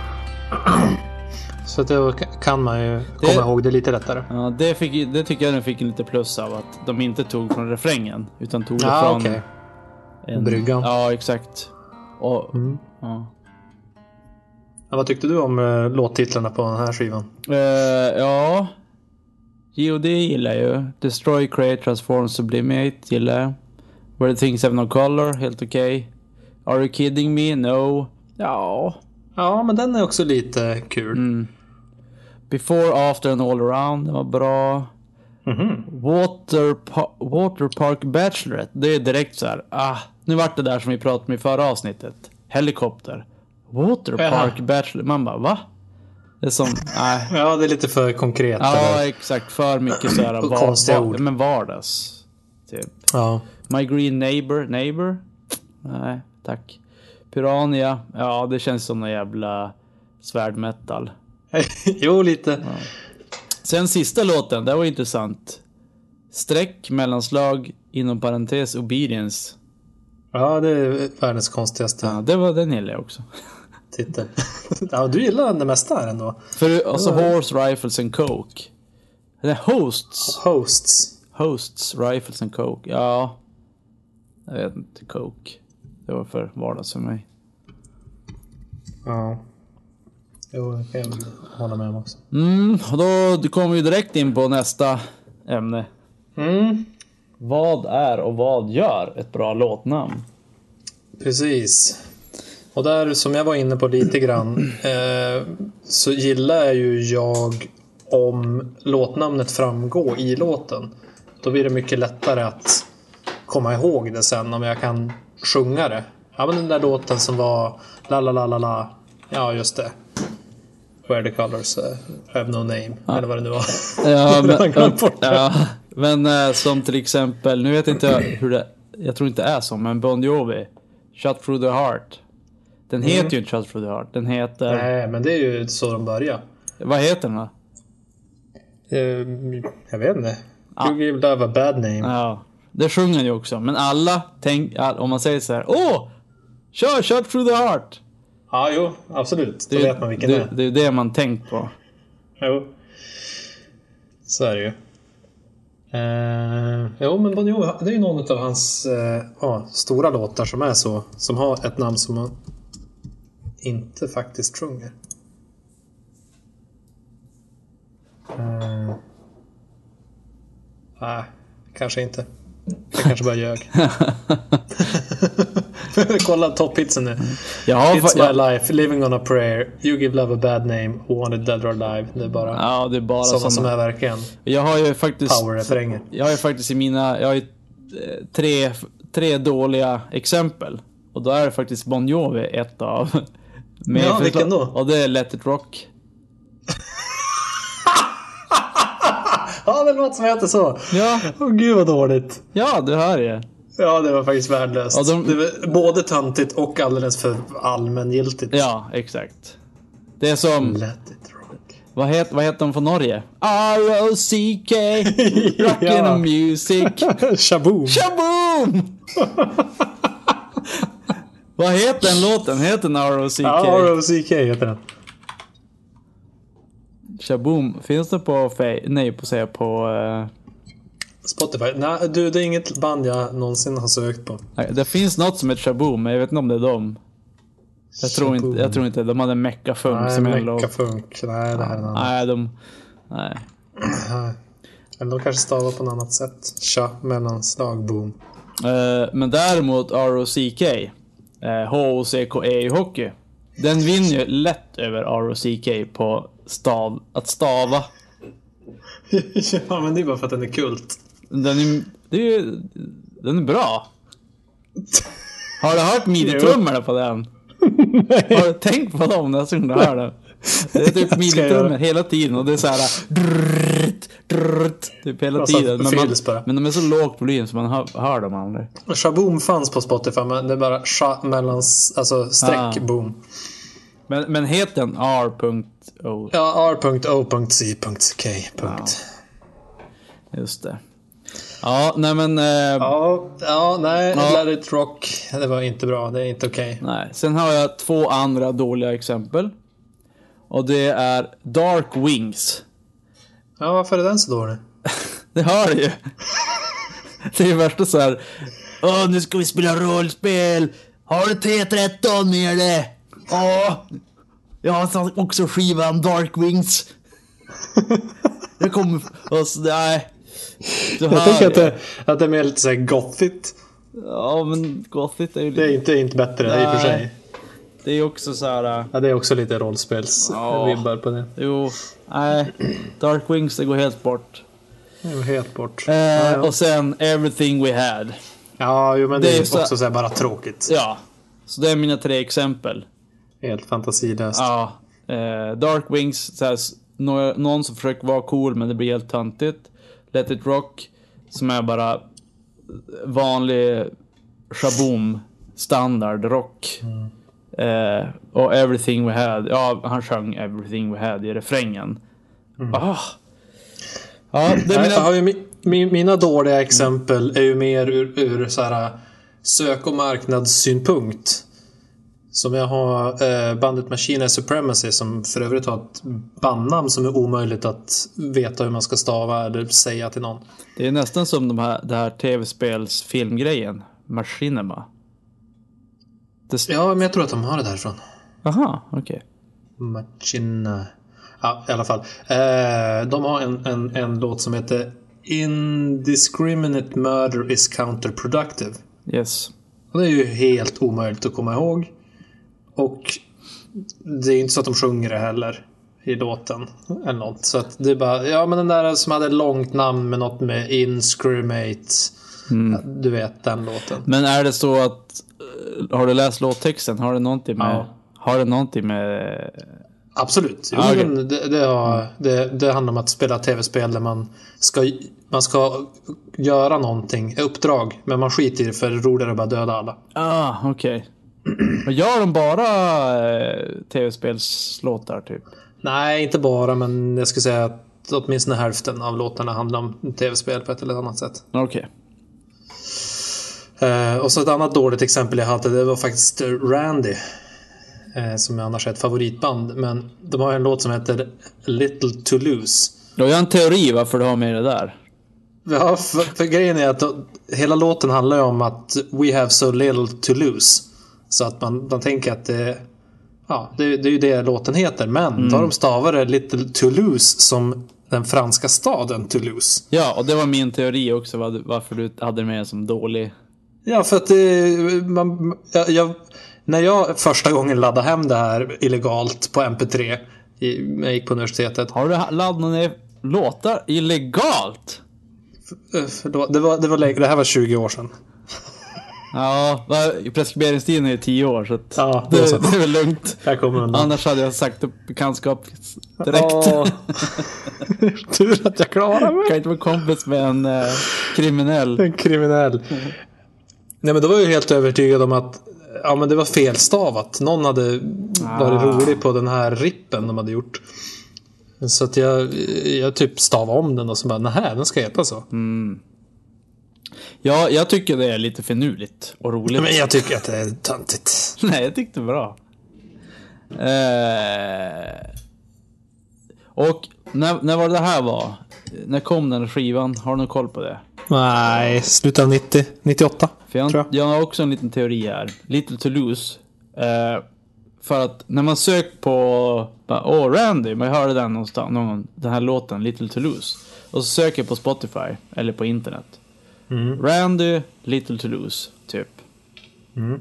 Speaker 3: Så att då kan man ju komma ihåg det lite lättare.
Speaker 2: Ja, det, fick, det tycker jag den fick en lite plus av att de inte tog från refrängen. Utan tog det
Speaker 3: Ja,
Speaker 2: från...
Speaker 3: Ah, okej.
Speaker 2: En,
Speaker 3: Bryggan. Mm.
Speaker 2: Ja, exakt. Och, ja.
Speaker 3: Men Vad tyckte du om eh, låttitlarna på den här skivan?
Speaker 2: Eh, ja. GOD gillar jag ju. Destroy, Create, Transform, Sublimate gillar jag. Where the things have no color, helt okej. Are you kidding me? No. Ja.
Speaker 3: Ja, men den är också lite kul.
Speaker 2: Before, After and All Around, den var bra. Water, pa- Water Park Bachelorette, det är direkt så här. Ah, nu vart det där som vi pratade om i förra avsnittet. Helikopter. Waterpark
Speaker 3: Jaha.
Speaker 2: Bachelor. Man bara, va? Det är som, nej.
Speaker 3: Ja, det är lite för konkret.
Speaker 2: Ja,
Speaker 3: eller?
Speaker 2: exakt. För mycket så här
Speaker 3: Och
Speaker 2: var-
Speaker 3: konstiga
Speaker 2: var-
Speaker 3: ord.
Speaker 2: men vardags. Typ.
Speaker 3: ja.
Speaker 2: My Green Neighbor. Neighbor? Nej, tack. Piranha. Ja, det känns som någon jävla svärdmetal.
Speaker 3: jo, lite.
Speaker 2: Sen sista låten, det var intressant. Streck, mellanslag, inom parentes, obedience.
Speaker 3: Ja, det är världens konstigaste
Speaker 2: Ja, det var den gillade jag också.
Speaker 3: titel. ja, du gillar den det mesta här ändå.
Speaker 2: För alltså Horse, Rifles and Coke. Nej, Hosts.
Speaker 3: Hosts.
Speaker 2: Hosts, Rifles and Coke. Ja. Jag vet inte, Coke. Det var för vardags för mig.
Speaker 3: Ja. Jo, det kan jag hålla med om också.
Speaker 2: Mm, och då kommer vi direkt in på nästa ämne.
Speaker 3: Mm.
Speaker 2: Vad är och vad gör ett bra låtnamn?
Speaker 3: Precis. Och där som jag var inne på lite grann eh, så gillar ju jag om låtnamnet framgår i låten. Då blir det mycket lättare att komma ihåg det sen om jag kan sjunga det. Ja men den där låten som var la la la la la. Ja just det. Where the colors eh, have no name. Eller vad det nu var.
Speaker 2: Ja,
Speaker 3: Jag har
Speaker 2: men,
Speaker 3: glömt bort det.
Speaker 2: ja, men eh, som till exempel, nu vet inte jag hur det, jag tror inte det är så, men Bon Jovi, Shut through the heart. Den heter ju inte Shut through the heart, den heter,
Speaker 3: Mm. Nej men det är ju så de börjar.
Speaker 2: vad heter den då?
Speaker 3: Eh, jag vet inte. You give love a bad name.
Speaker 2: Ja, det sjunger han ju också, men alla, tänk, all, om man säger så här, åh! Kör Shut through the heart!
Speaker 3: Ja, jo, absolut. Då
Speaker 2: Det, är-
Speaker 3: vet man vilken det,
Speaker 2: det, det är det man tänkt på.
Speaker 3: är. Jo. Så är det ju. Eh, jo, men Bon Jovi, det är ju någon av hans eh, ja, stora låtar som är så. Som har ett namn som man inte faktiskt sjunger. Eh, Nej, kanske inte. Jag kanske bara ljög. Kolla topphitsen nu.
Speaker 2: Jag har, fa-
Speaker 3: It's my
Speaker 2: jag,
Speaker 3: life, living on a prayer. You give love a bad name, wanted dead or alive. Det är bara
Speaker 2: ja, det är bara
Speaker 3: sådana
Speaker 2: sådana.
Speaker 3: som är verkligen
Speaker 2: Jag har ju faktiskt
Speaker 3: power-refränger.
Speaker 2: Jag har ju faktiskt i mina, jag har ju eh, tre, tre dåliga exempel. Och då är faktiskt Bon Jovi ett av. Men
Speaker 3: Ja,
Speaker 2: jag förstår-
Speaker 3: vilken då?
Speaker 2: Och det är Let It Rock.
Speaker 3: Ja, det låter som jag heter så.
Speaker 2: Ja,
Speaker 3: Åh gud vad dåligt.
Speaker 2: ja du hör ju.
Speaker 3: Ja, det var faktiskt värdelöst.
Speaker 2: Ja, de-
Speaker 3: Det var både töntigt och alldeles för allmängiltigt.
Speaker 2: Ja, exakt. Det är som,
Speaker 3: Let it rock.
Speaker 2: vad heter, vad heter de från Norge? R.O.C.K. Rockin'
Speaker 3: Ja.
Speaker 2: and Music.
Speaker 3: Shaboom!
Speaker 2: Shaboom! vad heter den låten? Heter den R.O.C.K.?
Speaker 3: Ja, R.O.C.K. heter den.
Speaker 2: Shaboom. Finns det på, fe- nej på, säga på, eh,
Speaker 3: Spotify. Nej, du, det är inget band jag någonsin har sökt på.
Speaker 2: Nej, Det finns något som heter Shaboom, men jag vet inte om det är dem. Jag tror inte, jag tror inte de hade meckafunk
Speaker 3: Nej,
Speaker 2: som en låt.
Speaker 3: Meckafunk. Nej, det här är en annan.
Speaker 2: Nej, de... Nej.
Speaker 3: Eller de kanske stavar på något annat sätt. Tja, mellanslag, boom.
Speaker 2: Eh, men däremot ROCK, eh, HOCKE i hockey. Den vinner ju lätt över ROCK på stav, att stava.
Speaker 3: ja, men det är bara för att den är kult.
Speaker 2: Den är, det är ju, den är bra. Har du hört midjetrummorna på den? Har du tänkt på dem nästa gång du hör den? Det är typ midjetrummor
Speaker 3: göra.
Speaker 2: hela tiden och det är så här drrrt, drrrt, typ hela
Speaker 3: Massa
Speaker 2: tiden. Men, man,
Speaker 3: frills bara.
Speaker 2: men de är så lågt volym så man hör, hör dem aldrig.
Speaker 3: Shaboom fanns på Spotify, men det är bara sha mellan, alltså streck,
Speaker 2: Ah.
Speaker 3: boom.
Speaker 2: Men, men heter den R.O.
Speaker 3: Ja, r.o.c.k.
Speaker 2: Just det. Ja, nej men. Eh,
Speaker 3: Ja, ja, nej,
Speaker 2: Ja.
Speaker 3: Let it rock. Det var inte bra, det är inte okej.
Speaker 2: nej. Sen har jag två andra dåliga exempel. Och det är Dark Wings.
Speaker 3: Ja, varför är den så dålig?
Speaker 2: Det hör du ju. Det är ju värsta så här. Åh, nu ska vi spela rollspel. Har du T13 med dig? Ja. Jag har också skivan Dark Wings. Jag kommer... Och så, nej. Du
Speaker 3: Jag
Speaker 2: hör
Speaker 3: tänker att
Speaker 2: ju.
Speaker 3: det, att det är mer lite såhär gothigt.
Speaker 2: Ja, men Gothit är ju
Speaker 3: Det är
Speaker 2: lite...
Speaker 3: inte, inte bättre i och för sig.
Speaker 2: Nej. Det är ju också så här... äh,
Speaker 3: Ja, det är också lite rollspelsvibbar på det.
Speaker 2: Jo, nej. Dark Wings, det går helt bort.
Speaker 3: Det var helt bort. ja,
Speaker 2: Eh,
Speaker 3: ja.
Speaker 2: och sen Everything We Had.
Speaker 3: ja jo, men det,
Speaker 2: det är
Speaker 3: är
Speaker 2: ju så-
Speaker 3: också så här bara tråkigt.
Speaker 2: Ja, så det är mina tre exempel.
Speaker 3: Helt fantasilöst.
Speaker 2: Ja. Eh, Dark Wings, så här, s- nå- någon som försöker vara cool men det blir helt töntigt. Let It Rock, som är bara vanlig shaboom standard rock. Eh, och Everything We Had, ja han sjöng Everything We Had i refrängen. Ah. Ja, det är
Speaker 3: Nej, jag
Speaker 2: mina...
Speaker 3: har ju, mi- mi- mina dåliga exempel är ju mer ur, ur så här, äh, sök och marknadssynpunkt. Som jag har eh, bandet Machine Supremacy som för övrigt har ett bandnamn som är omöjligt att veta hur man ska stava eller säga till någon.
Speaker 2: Det är nästan som de här, det här tv-spels filmgrejen, Machinima. Det... s-
Speaker 3: Ja, men jag tror att de har det därifrån.
Speaker 2: Aha, okej.
Speaker 3: Machina. Ja, i alla fall. Eh, de har en, en, en låt som heter Indiscriminate murder is counterproductive.
Speaker 2: Yes.
Speaker 3: Och det är ju helt omöjligt att komma ihåg. Och det är inte så att de sjunger det heller i låten. Eller något. Så att det är bara, ja men den där som hade långt namn med något med inscrimate. Ja, du vet den låten.
Speaker 2: Men är det så att, eh, har du läst låttexten? Har det någonting med,
Speaker 3: Ja.
Speaker 2: har det någonting med,
Speaker 3: Absolut. Jo,
Speaker 2: Ah, okej.
Speaker 3: men det, det, har, det, det handlar om att spela tv-spel där man ska, man ska göra någonting, uppdrag. Men man skiter i det för det är roligare att bara döda alla.
Speaker 2: ah okej. Och gör de bara eh, tv-spelslåtar typ?
Speaker 3: Nej, inte bara, men jag skulle säga att åtminstone hälften av låtarna handlar om tv-spel på ett eller annat sätt.
Speaker 2: Okej.
Speaker 3: Eh, och så ett annat dåligt exempel jag hade, det var faktiskt Randy. Eh, som jag annars är ett favoritband. Men de har en låt som heter Little Toulouse.
Speaker 2: Då har jag en teori varför du har med det där.
Speaker 3: Ja, för, för grejen är att då, hela låten handlar ju om att We have so little to lose. Så att man, man tänker att det, ja, det, det är ju det låten heter. Men då har de stavat det Little Toulouse som den franska staden Toulouse.
Speaker 2: Ja, och det var min teori också vad, varför du hade med det som dålig.
Speaker 3: Ja, för att det, man, jag, jag, när jag första gången laddade hem det här illegalt på MP3, i, när jag gick på universitetet.
Speaker 2: Har du ha- laddat ner låtar illegalt?
Speaker 3: eh, Förlåt, det, var, det, var, länge- det här var 20 år sedan.
Speaker 2: Ja, va- preskriberingstiden är ju tio år så att
Speaker 3: Ja,
Speaker 2: det,
Speaker 3: det var sant.
Speaker 2: det är väl lugnt.
Speaker 3: Jag kommer undan.
Speaker 2: Annars hade jag sagt upp bekantskap direkt.
Speaker 3: Åh. Tur att jag klarar mig.
Speaker 2: Kan inte vara kompis med en eh, kriminell.
Speaker 3: En kriminell. Nej men då var jag ju helt övertygad om att ja, men det var felstavat. Någon hade varit
Speaker 2: Ah.
Speaker 3: rolig på den här rippen de hade gjort. Så att jag, jag typ stavade om den och så bara, nähä, den ska heta så.
Speaker 2: Ja, jag tycker det är lite finurligt och roligt.
Speaker 3: Men jag tycker att det är töntigt.
Speaker 2: Nej, jag tyckte det var bra. Eh, och när, när var det här var? När kom den här skivan? Har du någon koll på det?
Speaker 3: Nej, slutet av 90, 98.
Speaker 2: För jag,
Speaker 3: Tror
Speaker 2: jag.
Speaker 3: jag.
Speaker 2: har också en liten teori här. Little Toulouse. Eh, för att när man söker på bara, Åh, Randy, man hörde den någonstans, någon, den här låten, Little Toulouse. Och så söker jag på Spotify eller på internet.
Speaker 3: Mm.
Speaker 2: Randy, Little Toulouse, typ.
Speaker 3: Mm.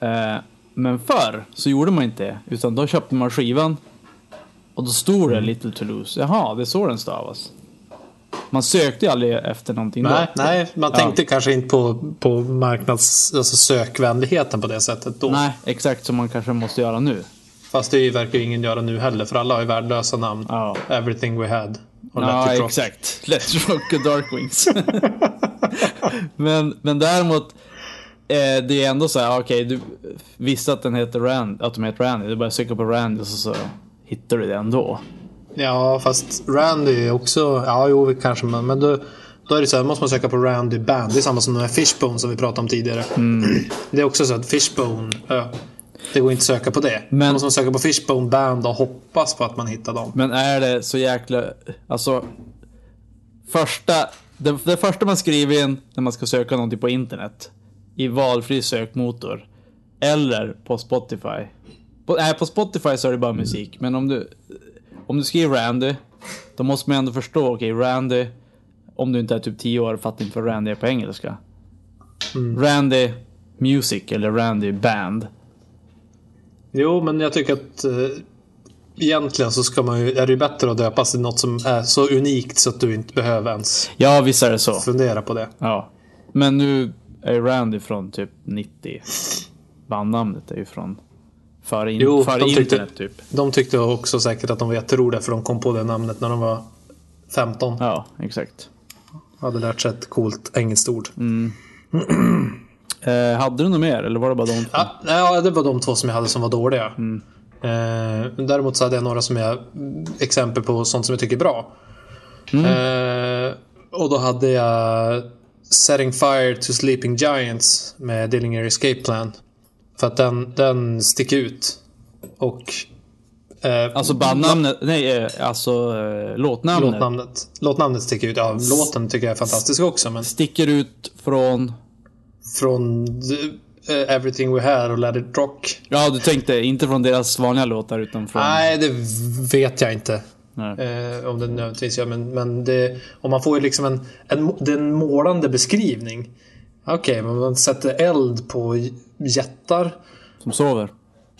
Speaker 2: Eh, men förr så gjorde man inte det, utan då köpte man skivan. Och då stod
Speaker 3: Mm.
Speaker 2: det Little Toulouse. Jaha, det är så den stavas. Man sökte ju aldrig efter någonting då.
Speaker 3: Nej, nej, man
Speaker 2: Ja.
Speaker 3: tänkte kanske inte på, på marknads, alltså sökvänligheten på det sättet då.
Speaker 2: Nej, exakt som man kanske måste göra nu.
Speaker 3: Fast det verkar ju ingen göra nu heller, för alla har ju värdelösa namn.
Speaker 2: Ja.
Speaker 3: Everything we had. Och
Speaker 2: Ja,
Speaker 3: Let It Rock.
Speaker 2: exakt. Let's Rock och Dark Wings. men, men däremot, eh, det är ändå så här, okej, du visste att den heter Rand, att de heter Randy. Du bara söker på Randy och så, så hittar du det ändå.
Speaker 3: Ja, fast Randy är också... Ja, jo, kanske. Men, men då, då är det så här, måste man söka på Randy Band. Det är samma som den här Fishbone som vi pratade om tidigare. Det är också så att Fishbone... ö, det går inte att söka på det.
Speaker 2: Men-
Speaker 3: Men... Då måste man söka på Fishbone Band och hoppas på att man hittar dem.
Speaker 2: Men är det så jäkla, alltså, första, det, det första man skriver in när man ska söka någonting på internet, i valfri sökmotor, eller på Spotify. På, nej, på Spotify så är det bara musik, men om du, om du skriver Randy, då måste man ändå förstå, okej, Randy, om du inte är typ 10 år och fattar inte vad Randy är på engelska. Randy Music eller Randy Band.
Speaker 3: Jo, men jag tycker att... Eh, egentligen så ska man ju, är det ju bättre att döpas till något som är så unikt så att du inte behöver ens
Speaker 2: Ja, visst är det så.
Speaker 3: fundera på det.
Speaker 2: Ja. Men nu är ju Randy från typ 90. Bandnamnet är ju från Före, in,
Speaker 3: Jo,
Speaker 2: före
Speaker 3: de tyckte-
Speaker 2: internet typ.
Speaker 3: De tyckte också säkert att de var jätteroliga för de kom på det namnet när de var 15.
Speaker 2: Ja, exakt.
Speaker 3: Hade lärt sig ett coolt engelskt ord.
Speaker 2: Eh, hade du något mer eller var det bara de två?
Speaker 3: Ja, nej, ja, det var de två som jag hade som var dåliga. Eh, men däremot så hade jag några som jag exempel på sånt som jag tycker är bra. Eh, och då hade jag Setting Fire to Sleeping Giants med Dillinger Escape Plan. För att den, den sticker ut. Och eh,
Speaker 2: Alltså bandnamnet, nej eh, alltså eh, låtnamnet
Speaker 3: låtnamnet, låtnamnet sticker ut. Ja, låten tycker jag är fantastisk också. Men
Speaker 2: sticker ut från...
Speaker 3: från eh, Everything We Had och Let It Rock.
Speaker 2: Ja, du tänkte inte från deras vanliga låtar utan från...
Speaker 3: Nej, det vet jag inte.
Speaker 2: Nej.
Speaker 3: Eh, om det nödvändigtvis gör, men, men det, om man får ju liksom en, en, det är en målande beskrivning. Okej, men man sätter eld på j- jättar
Speaker 2: Som sover.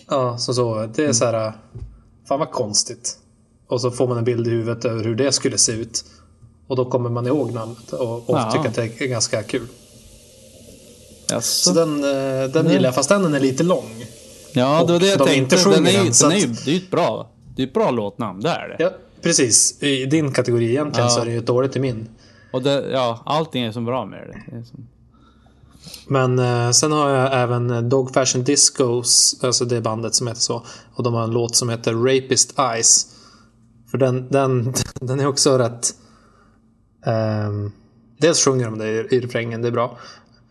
Speaker 3: ja, som sover. Det
Speaker 2: Mm.
Speaker 3: är så här, fan vad konstigt. Och så får man en bild i huvudet över hur det skulle se ut. Och då kommer man ihåg namnet och, och
Speaker 2: Ja.
Speaker 3: tycker att det är ganska kul. Så
Speaker 2: Jaså?
Speaker 3: den, eh,
Speaker 2: Mm.
Speaker 3: den gillar jag, fast den är lite lång.
Speaker 2: Ja, det var det jag
Speaker 3: de
Speaker 2: tänkte.
Speaker 3: inte
Speaker 2: den är,
Speaker 3: sjunger
Speaker 2: ju-
Speaker 3: den, så
Speaker 2: den är, ju-
Speaker 3: att-
Speaker 2: det är ju ett bra, det är ett bra låtnamn, det är det.
Speaker 3: Ja, precis. I din kategori egentligen
Speaker 2: Ja.
Speaker 3: så är det ju dåligt i min.
Speaker 2: Och det, ja, allting är så bra med det. det är som,
Speaker 3: Men eh, sen har jag även eh, Dog Fashion Discos, alltså det bandet som heter så. Och de har en låt som heter Rapist Eyes. För den, den, den är också rätt... ehm, dels sjunger de det i, i refrängen, det är bra.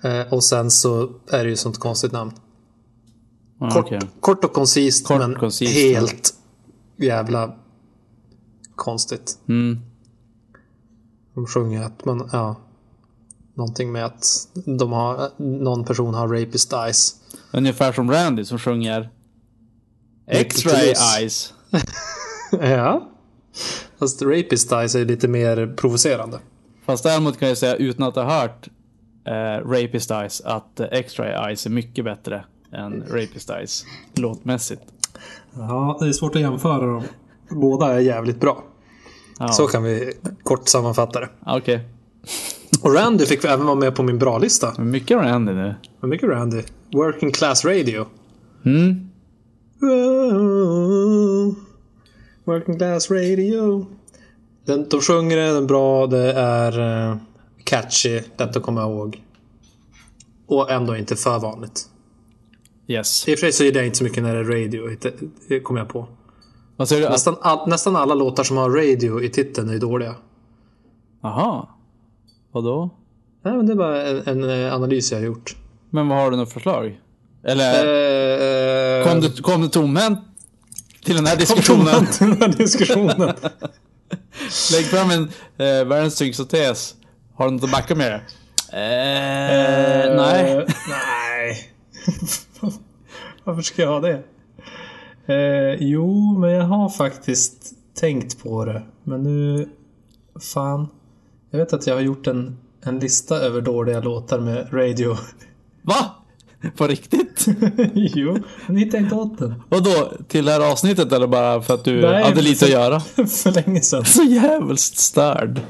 Speaker 3: Eh, och sen så är det ju sånt konstigt namn.
Speaker 2: ja,
Speaker 3: Kort,
Speaker 2: okej.
Speaker 3: kort och koncist
Speaker 2: Kort,
Speaker 3: men
Speaker 2: koncist, ja.
Speaker 3: helt jävla konstigt.
Speaker 2: Mm.
Speaker 3: De sjunger att man, ja. Någonting med att de har, någon person har rapist eyes.
Speaker 2: Ungefär som Randy som sjunger X-ray
Speaker 3: Yes.
Speaker 2: eyes.
Speaker 3: Ja. Fast rapist eyes är lite mer provocerande.
Speaker 2: Fast däremot kan jag säga utan att ha hört eh, Rapist Eyes att eh, X-ray eyes är mycket bättre än Rapist eyes låtmässigt.
Speaker 3: Ja, det är svårt att jämföra dem. Båda är jävligt bra.
Speaker 2: Ja,
Speaker 3: Så kan vi kort sammanfatta det.
Speaker 2: ja, Ah, okej.
Speaker 3: Och Randy fick även vara med på min bra-lista.
Speaker 2: Men Mycket Randy nu.
Speaker 3: Vad mycket Randy. Working class radio.
Speaker 2: Mm.
Speaker 3: Oh, Working class radio. Den, de sjunger den är bra, det är eh, catchy, lätt att komma ihåg. Och ändå inte för vanligt.
Speaker 2: Yes.
Speaker 3: I och för sig så gillar jag inte så mycket när det är radio, inte- det kommer jag på.
Speaker 2: Vad säger du? Att-
Speaker 3: Nästan, all, nästan alla låtar som har radio i titeln är ju dåliga.
Speaker 2: Aha. Vadå?
Speaker 3: Nej, men det är bara en, en eh, analys jag har gjort.
Speaker 2: Men vad har du något förslag? Eller
Speaker 3: Eh,
Speaker 2: kom, du, kom du tomhänt till den här diskussionen?
Speaker 3: tonen till den här diskussionen.
Speaker 2: Lägg fram en eh, världens tyngsta tes. Har du något att backa med? Eh, nej.
Speaker 3: Eh, nej. Varför ska jag ha det? Eh, jo, men jag har faktiskt tänkt på det. Men nu... Fan. Jag vet att jag har gjort en, en lista över dåliga låtar med radio.
Speaker 2: Va? På riktigt?
Speaker 3: jo, men hittade inte åt den.
Speaker 2: Vadå? Till det här avsnittet eller bara för att du
Speaker 3: Nej,
Speaker 2: hade lite att
Speaker 3: för-
Speaker 2: göra?
Speaker 3: för länge sedan.
Speaker 2: Så jävligt störd.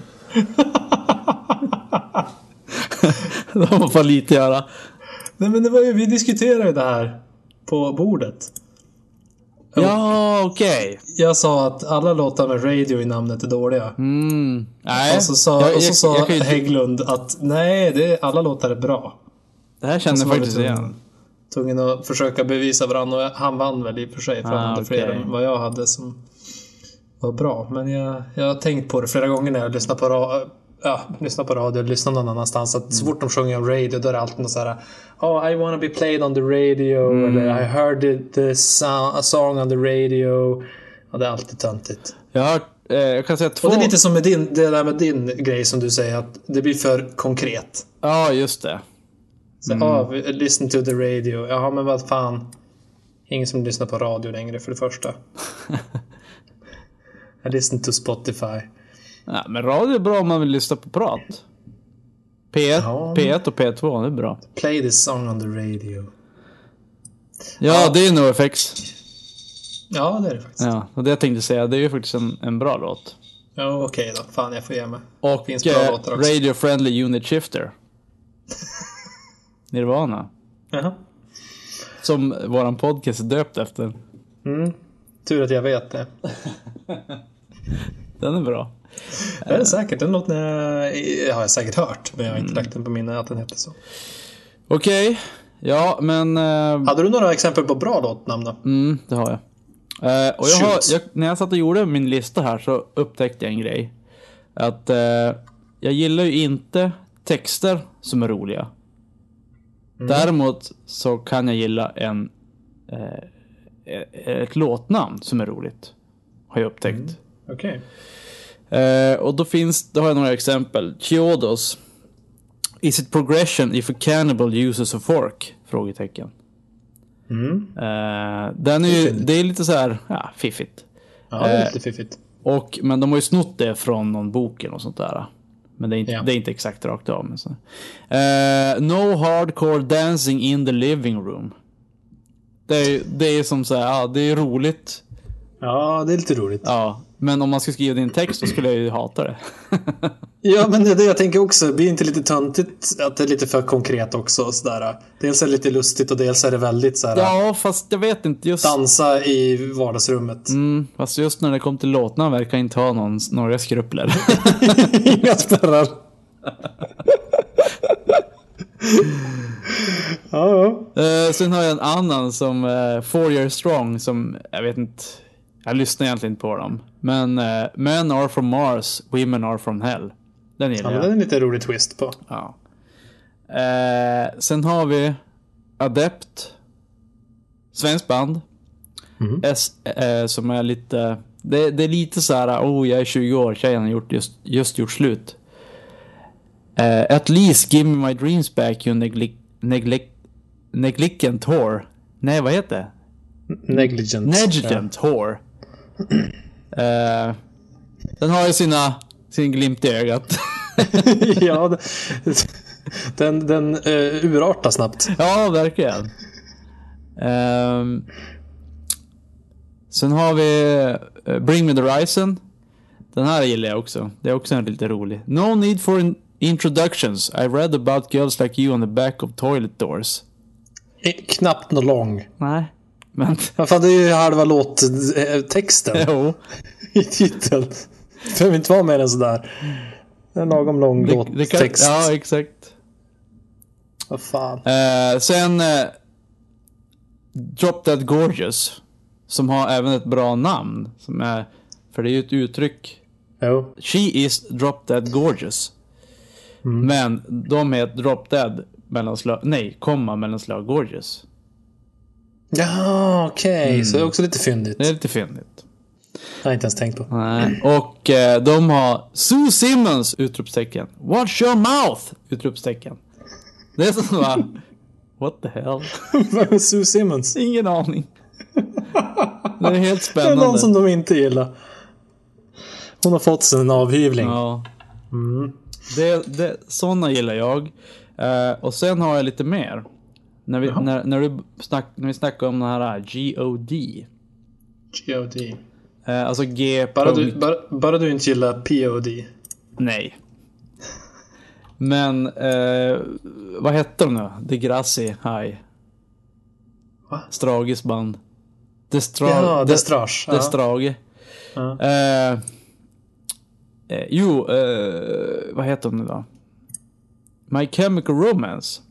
Speaker 2: De har fan lite att göra.
Speaker 3: Nej men det var ju, vi diskuterade ju det här på bordet.
Speaker 2: Ja, okej.
Speaker 3: Jag sa att alla låtar med radio i namnet är dåliga.
Speaker 2: Mm. Nej.
Speaker 3: Och så sa,
Speaker 2: jag,
Speaker 3: och så
Speaker 2: jag,
Speaker 3: sa
Speaker 2: jag kan ju-
Speaker 3: Hägglund att nej, det, är- alla låtar är bra.
Speaker 2: det här känner
Speaker 3: Så
Speaker 2: jag
Speaker 3: var vi
Speaker 2: faktiskt
Speaker 3: tvungna-
Speaker 2: igen.
Speaker 3: Tvungna att försöka bevisa varandra och han vann väl i och för sig. För han
Speaker 2: Ah,
Speaker 3: hade
Speaker 2: okej.
Speaker 3: fler än vad jag hade som var bra. Men jag, jag har tänkt på det flera gånger när jag lyssnar på, ra- ja, lyssnar på radio eller lyssnar någon annanstans. Att
Speaker 2: Mm.
Speaker 3: så fort de sjunger om radio då är det alltid något så här. Oh, I wanna be played on the radio.
Speaker 2: Mm.
Speaker 3: Eller I heard the, the song, a song on the radio. Ja, det är alltid töntigt.
Speaker 2: Jag har hört, eh, jag kan säga två...
Speaker 3: Och det är lite som med din, det där med din grej som du säger att det blir för konkret.
Speaker 2: Ja, just det.
Speaker 3: Så, ah, vi- listen to the radio. Jaha, men vad fan. Ingen som lyssnar på radio längre för det första. I listen to Spotify.
Speaker 2: Ja, men radio är bra om man vill lyssna på prat. P1,
Speaker 3: Ja.
Speaker 2: P1 och P2, det är bra.
Speaker 3: Play this song on the radio.
Speaker 2: Ja, det är NoFX.
Speaker 3: Ja, det är det faktiskt. Ja,
Speaker 2: Ja, och det jag tänkte säga, det är ju faktiskt en, en bra låt.
Speaker 3: okej då. Fan, jag får ge mig.
Speaker 2: Och
Speaker 3: Finns bra
Speaker 2: eh,
Speaker 3: låtar också.
Speaker 2: Radio Friendly Unit Shifter. Nirvana.
Speaker 3: Jaha.
Speaker 2: som våran podcast är döpt efter.
Speaker 3: Mm. Tur att jag vet det.
Speaker 2: Den är bra.
Speaker 3: Det är det säkert. Den låten är- har jag säkert hört, men jag har inte lagt den på minne att den hette så.
Speaker 2: Okej, ja men... eh,
Speaker 3: Hade du några exempel på bra låtnamn då?
Speaker 2: Mm, det har jag. Eh, och jag
Speaker 3: Shoot.
Speaker 2: har, jag, när jag satt och gjorde min lista här så upptäckte jag en grej. Att eh, jag gillar ju inte texter som är roliga.
Speaker 3: Mm.
Speaker 2: Däremot så kan jag gilla en, eh, e- ett låtnamn som är roligt. Har jag upptäckt.
Speaker 3: Okej.
Speaker 2: Eh, och då finns, då har jag några exempel. Chiodos. Is it progression if a cannibal uses a fork? Frågetecken.
Speaker 3: Mm.
Speaker 2: Eh, den är ju, det är lite så här, ja, fiffigt.
Speaker 3: Ja, det är
Speaker 2: Eh,
Speaker 3: lite fiffigt.
Speaker 2: Och, men de har ju snott det från någon boken och sånt där. Men det är inte,
Speaker 3: Ja.
Speaker 2: det är inte exakt rakt av. Men så. Eh, no hardcore dancing in the living room. Det är, ju- det är som så här, ja, det är roligt.
Speaker 3: Ja, det är lite roligt.
Speaker 2: Ja, men om man ska skriva din text så skulle jag ju hata det.
Speaker 3: Ja, men det är det jag tänker också. Blir inte lite töntigt att det är lite för konkret också? och Sådär. Dels är det lite lustigt och dels är det väldigt så här.
Speaker 2: ja, fast jag vet inte. Just,
Speaker 3: Dansa i vardagsrummet.
Speaker 2: mm, fast just när det kom till låtarna verkar jag inte ha någon, några skrupler.
Speaker 3: Inga spärrar. ja, ja.
Speaker 2: Eh, sen har jag en annan som eh, Four Year Strong som jag vet inte. Jag lyssnar egentligen inte på dem. Men eh, Men are from Mars, Women are from Hell. Den
Speaker 3: ja
Speaker 2: gillar
Speaker 3: men det
Speaker 2: jag.
Speaker 3: är en lite rolig twist på.
Speaker 2: Ja. Eh, sen har vi Adept. Svenskt band.
Speaker 3: Mm.
Speaker 2: S, eh, som är lite. Det, det är lite så här. Oh, jag är 20 år. Tjejen har gjort, just, just gjort slut. Eh, at least give me my dreams back you neglect, neglect, negligent whore. Nej, vad heter det?
Speaker 3: Negligent.
Speaker 2: Negligent whore. Eh, den har ju sina, sin glimt i ögat.
Speaker 3: Ja, ja det- den, den eh, urartar snabbt.
Speaker 2: Ja, verkligen. Ehm, sen har vi eh, Bring Me The Horizon. Den här gillar jag också. Det är också en lite rolig. No need for in- introductions. I read about girls like you on the back of toilet doors.
Speaker 3: Eh, Knappt någon lång.
Speaker 2: Nej, men
Speaker 3: Ja, fan, det är ju halva eh, låttexten
Speaker 2: jo.
Speaker 3: i titeln. Det behöver inte vara mer än sådär. En lagom lång
Speaker 2: Det, det kan,
Speaker 3: låttext.
Speaker 2: ja, exakt.
Speaker 3: Vad fan.
Speaker 2: Eh, sen eh, Drop Dead Gorgeous. Som har även ett bra namn. Som är, för det är ju ett uttryck
Speaker 3: Jo.
Speaker 2: She is drop dead gorgeous.
Speaker 3: Mm.
Speaker 2: Men de heter drop dead mellanslag, nej, komma mellanslag gorgeous.
Speaker 3: Ja, okej. Så det är också lite fyndigt.
Speaker 2: Mm. Det är lite fyndigt.
Speaker 3: Jag har inte ens tänkt på.
Speaker 2: Nej. Och eh, de har Sue Simmons! Utropstecken. Watch your mouth! Utropstecken. Det är som bara, What the hell?
Speaker 3: Vem är Sue Simmons?
Speaker 2: Ingen aning. Det är helt
Speaker 3: Det är
Speaker 2: spännande.
Speaker 3: någon som de inte gillar. Hon har fått sin avhyvling.
Speaker 2: Ja.
Speaker 3: Mm.
Speaker 2: Det, det, sådana gillar jag. Eh, och sen har jag lite mer. När vi, när, när du snack, när vi snackade om den här eh, GOD.
Speaker 3: G.O.D.
Speaker 2: Eh, alltså G...
Speaker 3: Bara
Speaker 2: punkt-
Speaker 3: du, bara, bara du inte gillar P.O.D.
Speaker 2: Nej. Men eh, vad hette de nu? De Grassi High.
Speaker 3: Va?
Speaker 2: Stragis band. Destra
Speaker 3: Ja,
Speaker 2: De-
Speaker 3: Destrage.
Speaker 2: Det är
Speaker 3: Ja.
Speaker 2: Strage.
Speaker 3: Ja.
Speaker 2: Eh, eh, jo, eh, vad heter hon nu då? My Chemical Romance.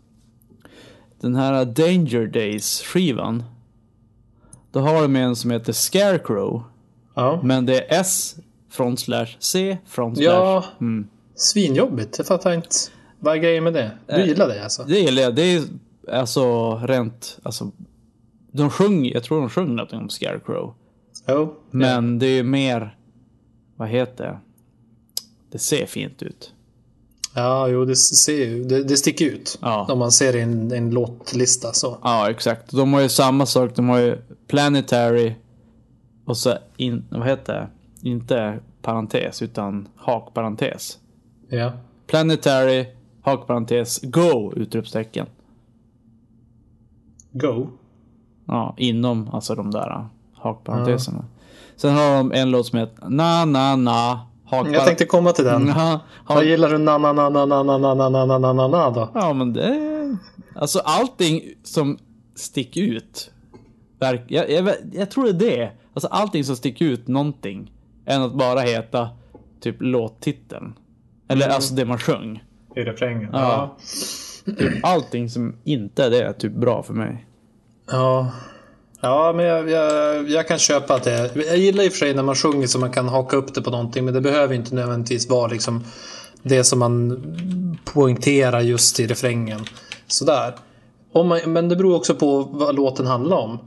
Speaker 2: Den här Danger Days-skivan. Då har de en som heter Scarecrow.
Speaker 3: Ja.
Speaker 2: Men det är S front slash C front slash.
Speaker 3: ja.
Speaker 2: Mm.
Speaker 3: Svinjobbigt. Jag fattar inte. Vad är grejen med det? Du gillar det alltså?
Speaker 2: Det gillar jag. Det är alltså rent, alltså. De sjöng, jag tror de sjöng någonting om Scarecrow.
Speaker 3: Jo.
Speaker 2: Men det är ju mer, vad heter det? Det ser fint ut.
Speaker 3: Ja, jo, det ser ju. Det, det sticker ut.
Speaker 2: Ja.
Speaker 3: Om man ser i en, en låtlista så.
Speaker 2: Ja, exakt. De har ju samma sak. De har ju Planetary och så in, vad heter det? Inte parentes utan hakparentes.
Speaker 3: Ja.
Speaker 2: Planetary, hakparentes, go! Utropstecken.
Speaker 3: Go.
Speaker 2: Ja, inom alltså de där hakparenteserna. Sen har de en låt som heter na na na
Speaker 3: Jag
Speaker 2: hakparentes.
Speaker 3: tänkte komma till den.
Speaker 2: Ja,
Speaker 3: Vad
Speaker 2: hak...
Speaker 3: gillar du na na na na na na na na na na na na då?
Speaker 2: ja, men det... Alltså allting som stick ut. Verk, jag, jag, jag tror det är det. Alltså allting som sticker ut någonting. Än att bara heta typ låttiteln. Eller alltså det man sjöng.
Speaker 3: I refrängen.
Speaker 2: Ja. Typ allting som inte är det är typ bra för mig.
Speaker 3: Ja, ja men jag, jag, jag kan köpa att det är- Jag gillar i och för sig när man sjunger så man kan haka upp det på någonting. Men det behöver inte nödvändigtvis vara liksom det som man poängterar just i refrängen. Sådär. Om man, men det beror också på vad låten handlar om.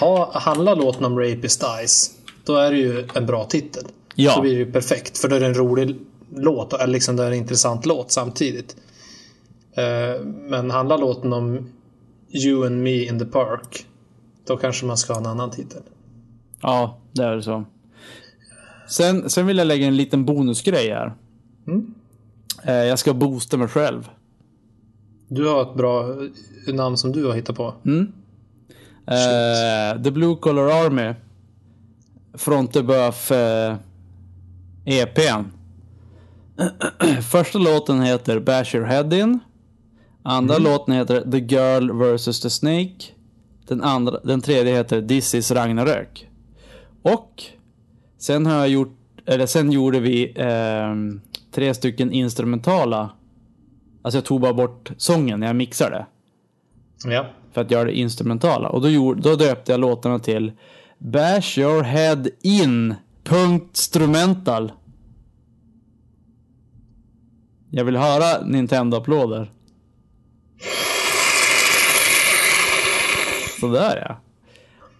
Speaker 3: Ha, handlar låten om Rapist Eyes, då är det ju en bra titel.
Speaker 2: Ja.
Speaker 3: Då blir det ju perfekt, för då är det en rolig låt, eller liksom det är en intressant låt samtidigt. Eh, Men handlar låten om You and me in the park, då kanske man ska ha en annan titel.
Speaker 2: Ja, det är det så. Sen, sen vill jag lägga en liten bonusgrej här.
Speaker 3: Mm.
Speaker 2: Eh, jag ska boosta mig själv.
Speaker 3: Du har ett bra eh, namn som du har hittat på.
Speaker 2: Eh, The Blue Collar Army. Frontebuff eh, EPn. Första låten heter Bash Your Head In. Andra låten heter The Girl vs The Snake. Den, andra, den tredje heter This is Ragnarök. Och sen har jag gjort, eller sen gjorde vi ehm, tre stycken instrumentala. Alltså jag tog bara bort sången när jag mixade
Speaker 3: Ja.
Speaker 2: för att göra det instrumentala. Och då, gjorde, då döpte jag låtarna till Bash your head in. Punkt strumental. Jag vill höra Nintendo-applåder. Sådär ja.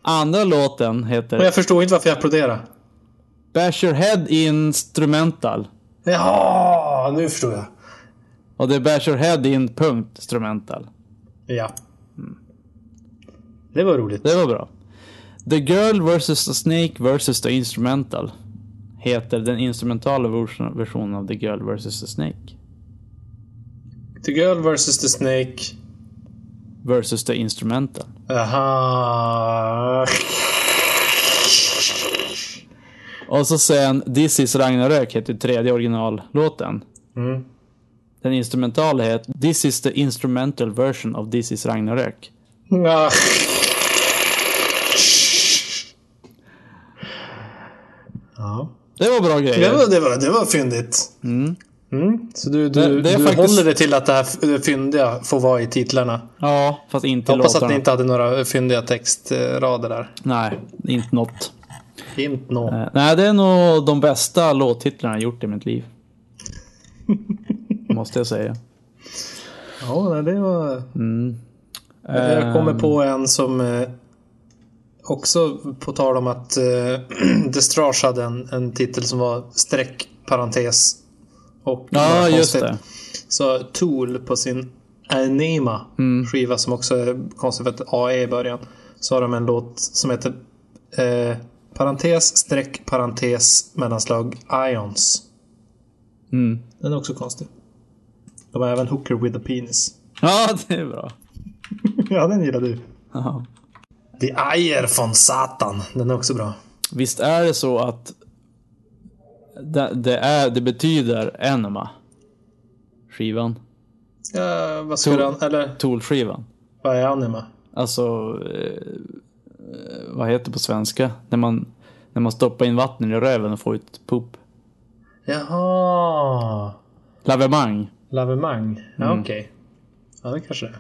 Speaker 2: Andra låten
Speaker 3: Men
Speaker 2: heter
Speaker 3: jag förstår inte varför jag applåderar.
Speaker 2: Bash your head in strumental.
Speaker 3: Jaha, nu förstår jag.
Speaker 2: Och det är Bash your head in punkt strumental.
Speaker 3: Ja. Mm. Det var roligt.
Speaker 2: Det var bra. The Girl vs the Snake vs the Instrumental heter den instrumentala version- versionen av The Girl vs the Snake
Speaker 3: The Girl vs The Snake.
Speaker 2: vs the Instrumental.
Speaker 3: Aha.
Speaker 2: Och så sen This is Ragnarök heter tredje originallåten.
Speaker 3: Mm.
Speaker 2: Den instrumentala heter This is the Instrumental version of This is Ragnarök.
Speaker 3: Ah. Ja.
Speaker 2: Det var bra grejer.
Speaker 3: Det var, det var, det var fyndigt. Mm. Så du, du,
Speaker 2: Det- det är
Speaker 3: du
Speaker 2: faktiskt-
Speaker 3: håller det till att det här f- det fyndiga får vara i titlarna.
Speaker 2: Ja, fast inte
Speaker 3: Jag hoppas att
Speaker 2: låtarna.
Speaker 3: ni inte hade några fyndiga textrader där.
Speaker 2: Nej, inte något.
Speaker 3: Inte nå.
Speaker 2: Eh, Nej, det är nog de bästa låttitlarna jag gjort i mitt liv. Måste jag säga.
Speaker 3: Ja, nej, det var...
Speaker 2: Eh,
Speaker 3: Jag kommer på
Speaker 2: Ehm.
Speaker 3: en som eh, också på tal om att eh, Destrage hade en, en titel som var streck, parentes och
Speaker 2: Ja,
Speaker 3: var
Speaker 2: just
Speaker 3: konstigt.
Speaker 2: det.
Speaker 3: Så Tool på sin Anima
Speaker 2: Mm.
Speaker 3: skiva som också är konstigt för ett AE i början. Så har de en låt som heter eh, parentes, streck, parentes, mellanslag, Ions.
Speaker 2: Mm.
Speaker 3: Den är också konstig. De har även Hooker with a penis.
Speaker 2: Ja, det är bra.
Speaker 3: ja, den gillar du.
Speaker 2: Ja.
Speaker 3: The Ayer von Satan. Den är också bra.
Speaker 2: Visst är det så att det, det, är, det betyder Enema? Skivan.
Speaker 3: Ja, vad skulle
Speaker 2: Tool.
Speaker 3: han... Eller
Speaker 2: Tool-skivan.
Speaker 3: vad är anima?
Speaker 2: Alltså, eh, eh, vad heter det på svenska? När man, när man stoppar in vatten i röven och får ut pop.
Speaker 3: Jaha.
Speaker 2: Lavemang.
Speaker 3: Lavemang. Mm. Ja, okej. Ja, det kanske det är.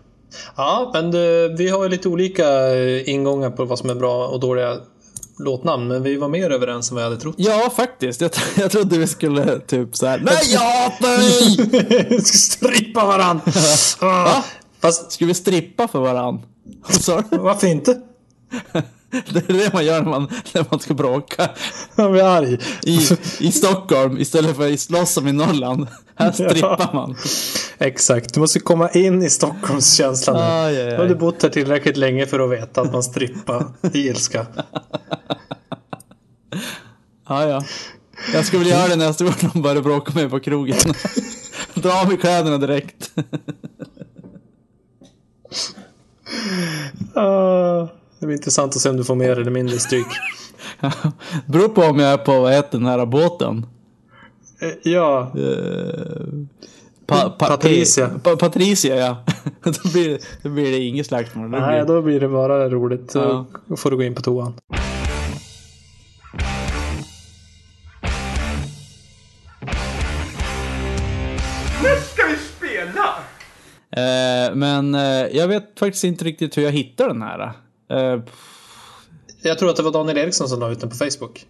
Speaker 3: Ja, men du, vi har ju lite olika eh, ingångar på vad som är bra och dåliga låtnamn, men vi var mer överens än vad jag hade trott.
Speaker 2: Ja, faktiskt. Jag, tro- jag trodde vi skulle typ så här. Nej, jag hatar dig!
Speaker 3: Vi ska strippa varann! Ah. Va? Fast
Speaker 2: Ska vi strippa för varann? Sorry.
Speaker 3: varför inte?
Speaker 2: Det är det man gör när man, när man ska bråka.
Speaker 3: Jag blir arg.
Speaker 2: i, i Stockholm istället för i slåss som i Norrland. Här strippar man.
Speaker 3: Exakt, du måste komma in i Stockholmskänslan nu.
Speaker 2: Aj, aj, aj.
Speaker 3: Då har du bott här tillräckligt länge för att veta att man strippar i ilska.
Speaker 2: Ja, ja. Jag ska väl göra det nästa gång de börjar bråka med mig på krogen. Dra av mig kläderna direkt.
Speaker 3: Ah, det blir intressant att se om du får mer eller mindre stryk.
Speaker 2: Beror på om jag är på, vad heter den här båten?
Speaker 3: Eh, ja,
Speaker 2: Eh, pa, pa,
Speaker 3: Patricia.
Speaker 2: Pa, Patricia, ja. då, blir, då blir det inget slagsmål. Då
Speaker 3: Nej,
Speaker 2: blir,
Speaker 3: då blir det bara roligt.
Speaker 2: Ja.
Speaker 3: Då får du gå in på toan.
Speaker 1: Nu ska vi spela!
Speaker 2: Eh, men eh, jag vet faktiskt inte riktigt hur jag hittar den här. Eh,
Speaker 3: Jag tror att det var Daniel Eriksson som la ut den på Facebook.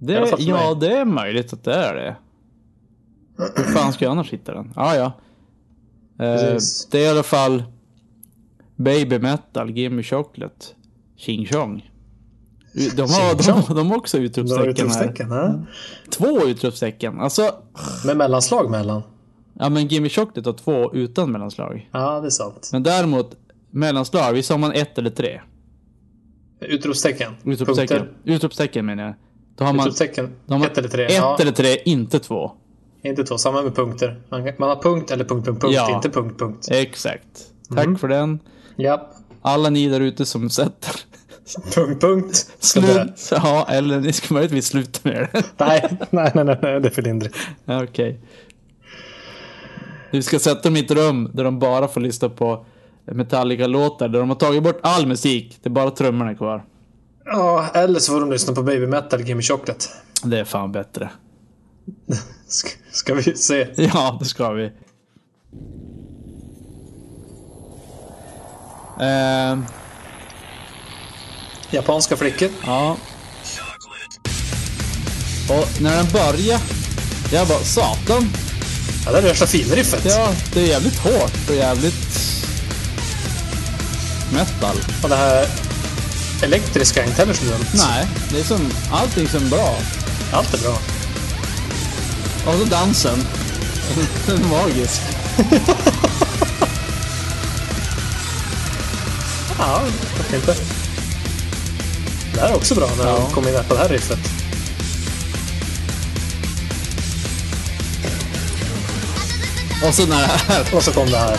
Speaker 3: I alla
Speaker 2: det,
Speaker 3: fall för
Speaker 2: ja,
Speaker 3: mig.
Speaker 2: det är möjligt att det är det. Hur fan ska jag annars hitta den? Ah, ja, eh,
Speaker 3: Precis.
Speaker 2: Det är i alla fall Baby Metal, Gimme Chocolate, Ching Chong. De har, de, de har också
Speaker 3: Dra
Speaker 2: utropstecken här.
Speaker 3: utropstecken. ja.
Speaker 2: Två utropstecken. Alltså,
Speaker 3: Med mellanslag mellan.
Speaker 2: ja men Gimme Chocolate har två utan mellanslag.
Speaker 3: Ja, det är sant.
Speaker 2: Men däremot mellanslag, visst har man ett eller tre?
Speaker 3: Utropstecken.
Speaker 2: Utropstecken.
Speaker 3: Punkter.
Speaker 2: Utropstecken menar jag. Då har man
Speaker 3: Utropstecken.
Speaker 2: De har
Speaker 3: ett eller tre.
Speaker 2: Ett
Speaker 3: ja,
Speaker 2: eller tre, inte två.
Speaker 3: Inte två. Samma med punkter. Man, kan- man har punkt eller punkt, punkt, punkt.
Speaker 2: Ja.
Speaker 3: Inte punkt, punkt.
Speaker 2: Exakt. Tack
Speaker 3: Mm.
Speaker 2: för den.
Speaker 3: Ja.
Speaker 2: Alla ni där ute som sätter.
Speaker 3: Punkt, punkt. Sådär.
Speaker 2: Slut. Ja, eller ni ska möjligtvis sluta med det.
Speaker 3: Nej, nej, nej, nej, nej, det är för lindrigt.
Speaker 2: Ja, Okej. Du ska sätta dem i ett rum där de bara får lyssna på Metallica-låtar. Där de har tagit bort all musik. Det är bara trummorna kvar.
Speaker 3: Ja, eller så får de lyssna på Baby Metal, Gimme Chocolate.
Speaker 2: Det är fan bättre.
Speaker 3: Ska, ska vi se.
Speaker 2: Ja, det ska vi. Ehm,
Speaker 3: Japanska flickor.
Speaker 2: Ja. Och när den börjar jag bara satan.
Speaker 3: Ja, det är värsta finriffet.
Speaker 2: Ja, det är jävligt hårt och jävligt metal.
Speaker 3: Och det här elektriska intelligensen.
Speaker 2: Nej, det är som allting som bra.
Speaker 3: Allt är bra.
Speaker 2: Och så dansen. Den är magisk.
Speaker 3: Ja, varför inte? Det här är också bra när
Speaker 2: Ja.
Speaker 3: de kommer in på det här riffet.
Speaker 2: Och så när det här.
Speaker 3: Och så kom det här.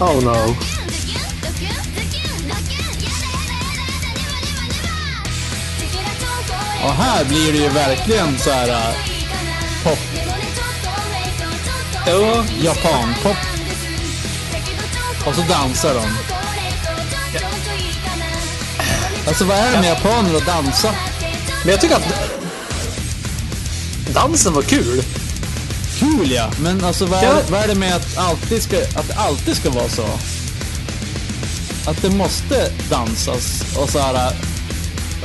Speaker 3: Oh no.
Speaker 2: Och här blir det ju verkligen så här äh, pop.
Speaker 4: Ja,
Speaker 2: Japan-pop. Och så dansar de. Alltså vad är det med japaner och dansa?
Speaker 3: Men jag tycker att dansen var kul.
Speaker 2: Kul ja, men alltså vad är,
Speaker 3: Ja.
Speaker 2: vad är det med att, alltid ska, att det alltid ska vara så? Att det måste dansas och så här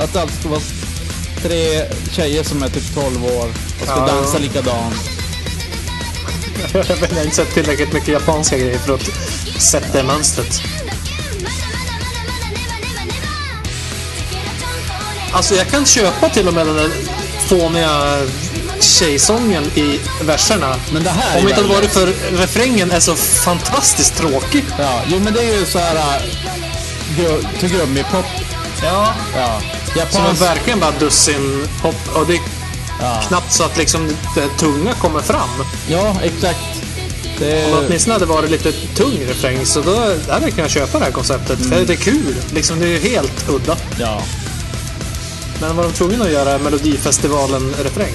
Speaker 2: att det alltid ska vara tre tjejer som är typ 12 år och ska
Speaker 3: Ja.
Speaker 2: dansa likadant.
Speaker 3: Jag har inte sett tillräckligt mycket japanska grejer för att sätta det mönstret. Alltså jag kan köpa till och med den där fåniga tjejsången i verserna.
Speaker 2: Men det här
Speaker 3: Om
Speaker 2: är
Speaker 3: inte det
Speaker 2: väldigt-
Speaker 3: varit för refrängen är så fantastiskt tråkig.
Speaker 2: Ja, jo men det är ju så här gru- till gummi-pop.
Speaker 3: Ja.
Speaker 2: Ja.
Speaker 3: Som är
Speaker 2: Japansk,
Speaker 3: verkligen bara dussin hopp och det är knappt så att liksom det tunga kommer fram.
Speaker 2: ja, exakt. Det
Speaker 3: Om
Speaker 2: är,
Speaker 3: åtminstone hade det varit lite tung refräng så då där hade jag kunnat köpa det här konceptet. För det är kul. Liksom, det är ju helt udda.
Speaker 2: ja.
Speaker 3: Men vad de tvungna att göra är Melodifestivalen-refräng.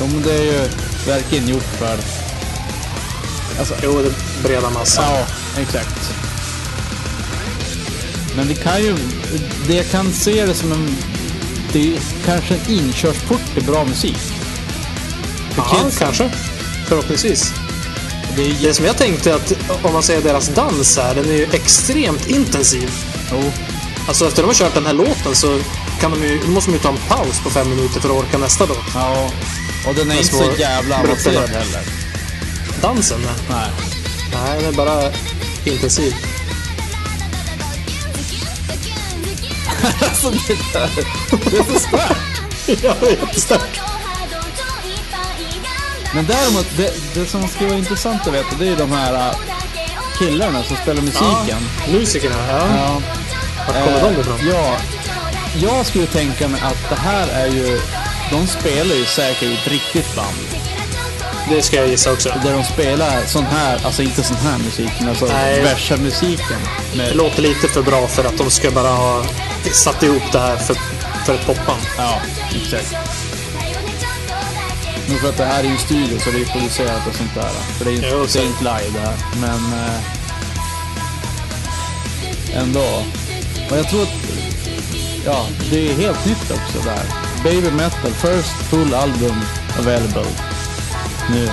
Speaker 2: Jo men det är ju verkligen gjort för.
Speaker 3: Jo, det breda massan.
Speaker 2: Ja, exakt. Men det kan ju, det jag kan se det som en, det är kanske en inkörsport till bra musik.
Speaker 3: Ja,
Speaker 2: kids.
Speaker 3: kanske. Förhoppningsvis.
Speaker 2: Det är ju,
Speaker 3: Det som jag tänkte är att om man ser deras dans här, den är ju extremt intensiv.
Speaker 2: jo,
Speaker 3: Alltså efter de har kört den här låten så kan de ju, måste de ju ta en paus på fem minuter för att orka nästa låt.
Speaker 2: ja. Och den är inte så
Speaker 3: svår-
Speaker 2: jävla avancerad
Speaker 3: brutala.
Speaker 2: heller.
Speaker 3: Dansen, nej.
Speaker 2: Nej.
Speaker 3: Nej, den är bara intensiv.
Speaker 2: Alltså det där, det är så starkt.
Speaker 3: Ja, jättestark.
Speaker 2: Men däremot, det, det som skulle vara intressant att veta, det är ju de här äh, killarna som spelar musiken.
Speaker 3: Musikerna, ja.
Speaker 2: Ja.
Speaker 3: Vart kommer de
Speaker 2: Eh,
Speaker 3: ifrån?
Speaker 2: Ja, jag skulle tänka mig att det här är ju, de spelar ju säkert i ett riktigt band.
Speaker 3: Det ska jag gissa också.
Speaker 2: Där de spelar sån här, alltså inte sån här musik, men alltså
Speaker 3: Nej.
Speaker 2: värsta-musiken.
Speaker 3: Det
Speaker 2: Med,
Speaker 3: låter lite för bra för att de ska bara ha satt ihop det här för, för ett popband.
Speaker 2: ja, exakt. Nu för att det här är ju studio så det är ju producerat och sånt där. För det är ju
Speaker 3: Jo,
Speaker 2: inte, det är
Speaker 3: säkert.
Speaker 2: inte live det här. Men... Eh, ändå. Och jag tror att... Ja, det är helt nytt också där. Baby Metal, first full album available. Nu.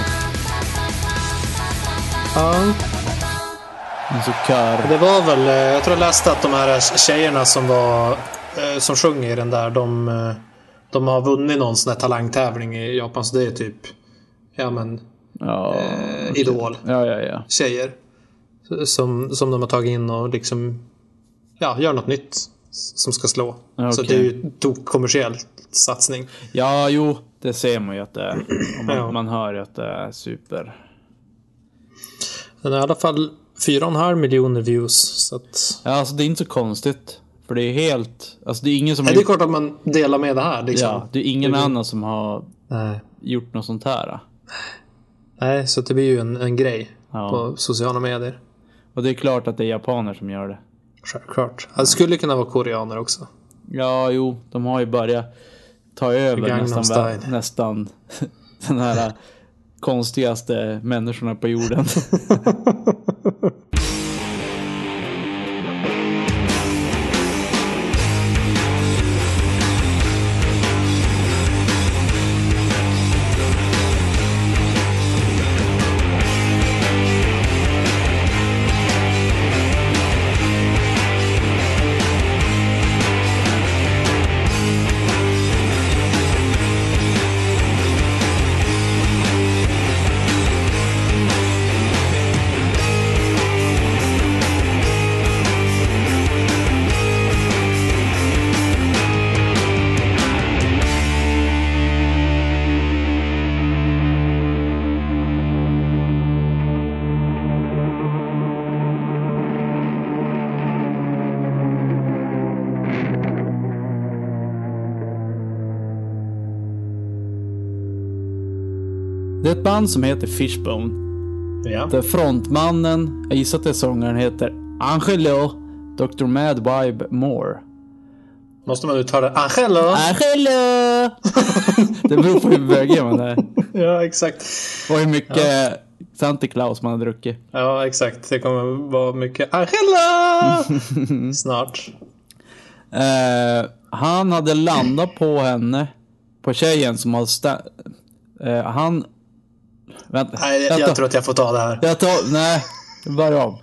Speaker 3: Ja.
Speaker 2: En så kör...
Speaker 3: Det var väl, eh, jag tror jag läste att de här tjejerna som var eh, som sjunger i den där, de, eh, de har vunnit någon sån här talangtävling i Japan. Så det är typ, ja men,
Speaker 2: Ja,
Speaker 3: eh, Idol.
Speaker 2: ja, ja. ja.
Speaker 3: tjejer. Som, som de har tagit in och liksom ja, gör något nytt som ska slå.
Speaker 2: Ja,
Speaker 3: Så
Speaker 2: okej.
Speaker 3: det är ju en kommersiell satsning.
Speaker 2: Ja, jo, det ser man ju att det är. Och Man,
Speaker 3: Ja.
Speaker 2: man hör ju att det är super.
Speaker 3: Den är i alla fall 4,5 miljoner views. Så att,
Speaker 2: Ja, alltså det är inte så konstigt. För det är helt... Alltså det är ingen som
Speaker 3: ja,
Speaker 2: har
Speaker 3: det är
Speaker 2: gjort...
Speaker 3: klart att man delar med det här. Liksom.
Speaker 2: Ja, det är ingen annan som har
Speaker 3: Nej.
Speaker 2: gjort något sånt här.
Speaker 3: Nej, så det blir ju en, en grej
Speaker 2: Ja.
Speaker 3: på sociala medier.
Speaker 2: Och det är klart att det är japaner som gör det.
Speaker 3: Självklart. Ja, Det skulle kunna vara koreaner också.
Speaker 2: Ja, jo, de har ju börjat ta över
Speaker 3: Gangnam
Speaker 2: nästan,
Speaker 3: Style.
Speaker 2: vär- nästan den här konstigaste människorna på jorden. Det är ett band som heter Fishbone.
Speaker 3: Ja.
Speaker 2: Där frontmannen, jag gissar att det är sångaren, heter Angelo Dr. Mad Vibe Moore.
Speaker 3: Måste man uttala Angelo?
Speaker 2: Angelo! det beror på hur bögig man är.
Speaker 3: Ja, exakt.
Speaker 2: Och hur mycket Santa Claus man har druckit.
Speaker 3: Ja, exakt. Det kommer vara mycket Angelo! Snart.
Speaker 2: Eh, han hade landat på henne, på tjejen som har sta- eh, Han... Vänta.
Speaker 3: Nej, jag,
Speaker 2: vänta.
Speaker 3: jag tror att jag får ta det här.
Speaker 2: Jag tar... Nej, börja om.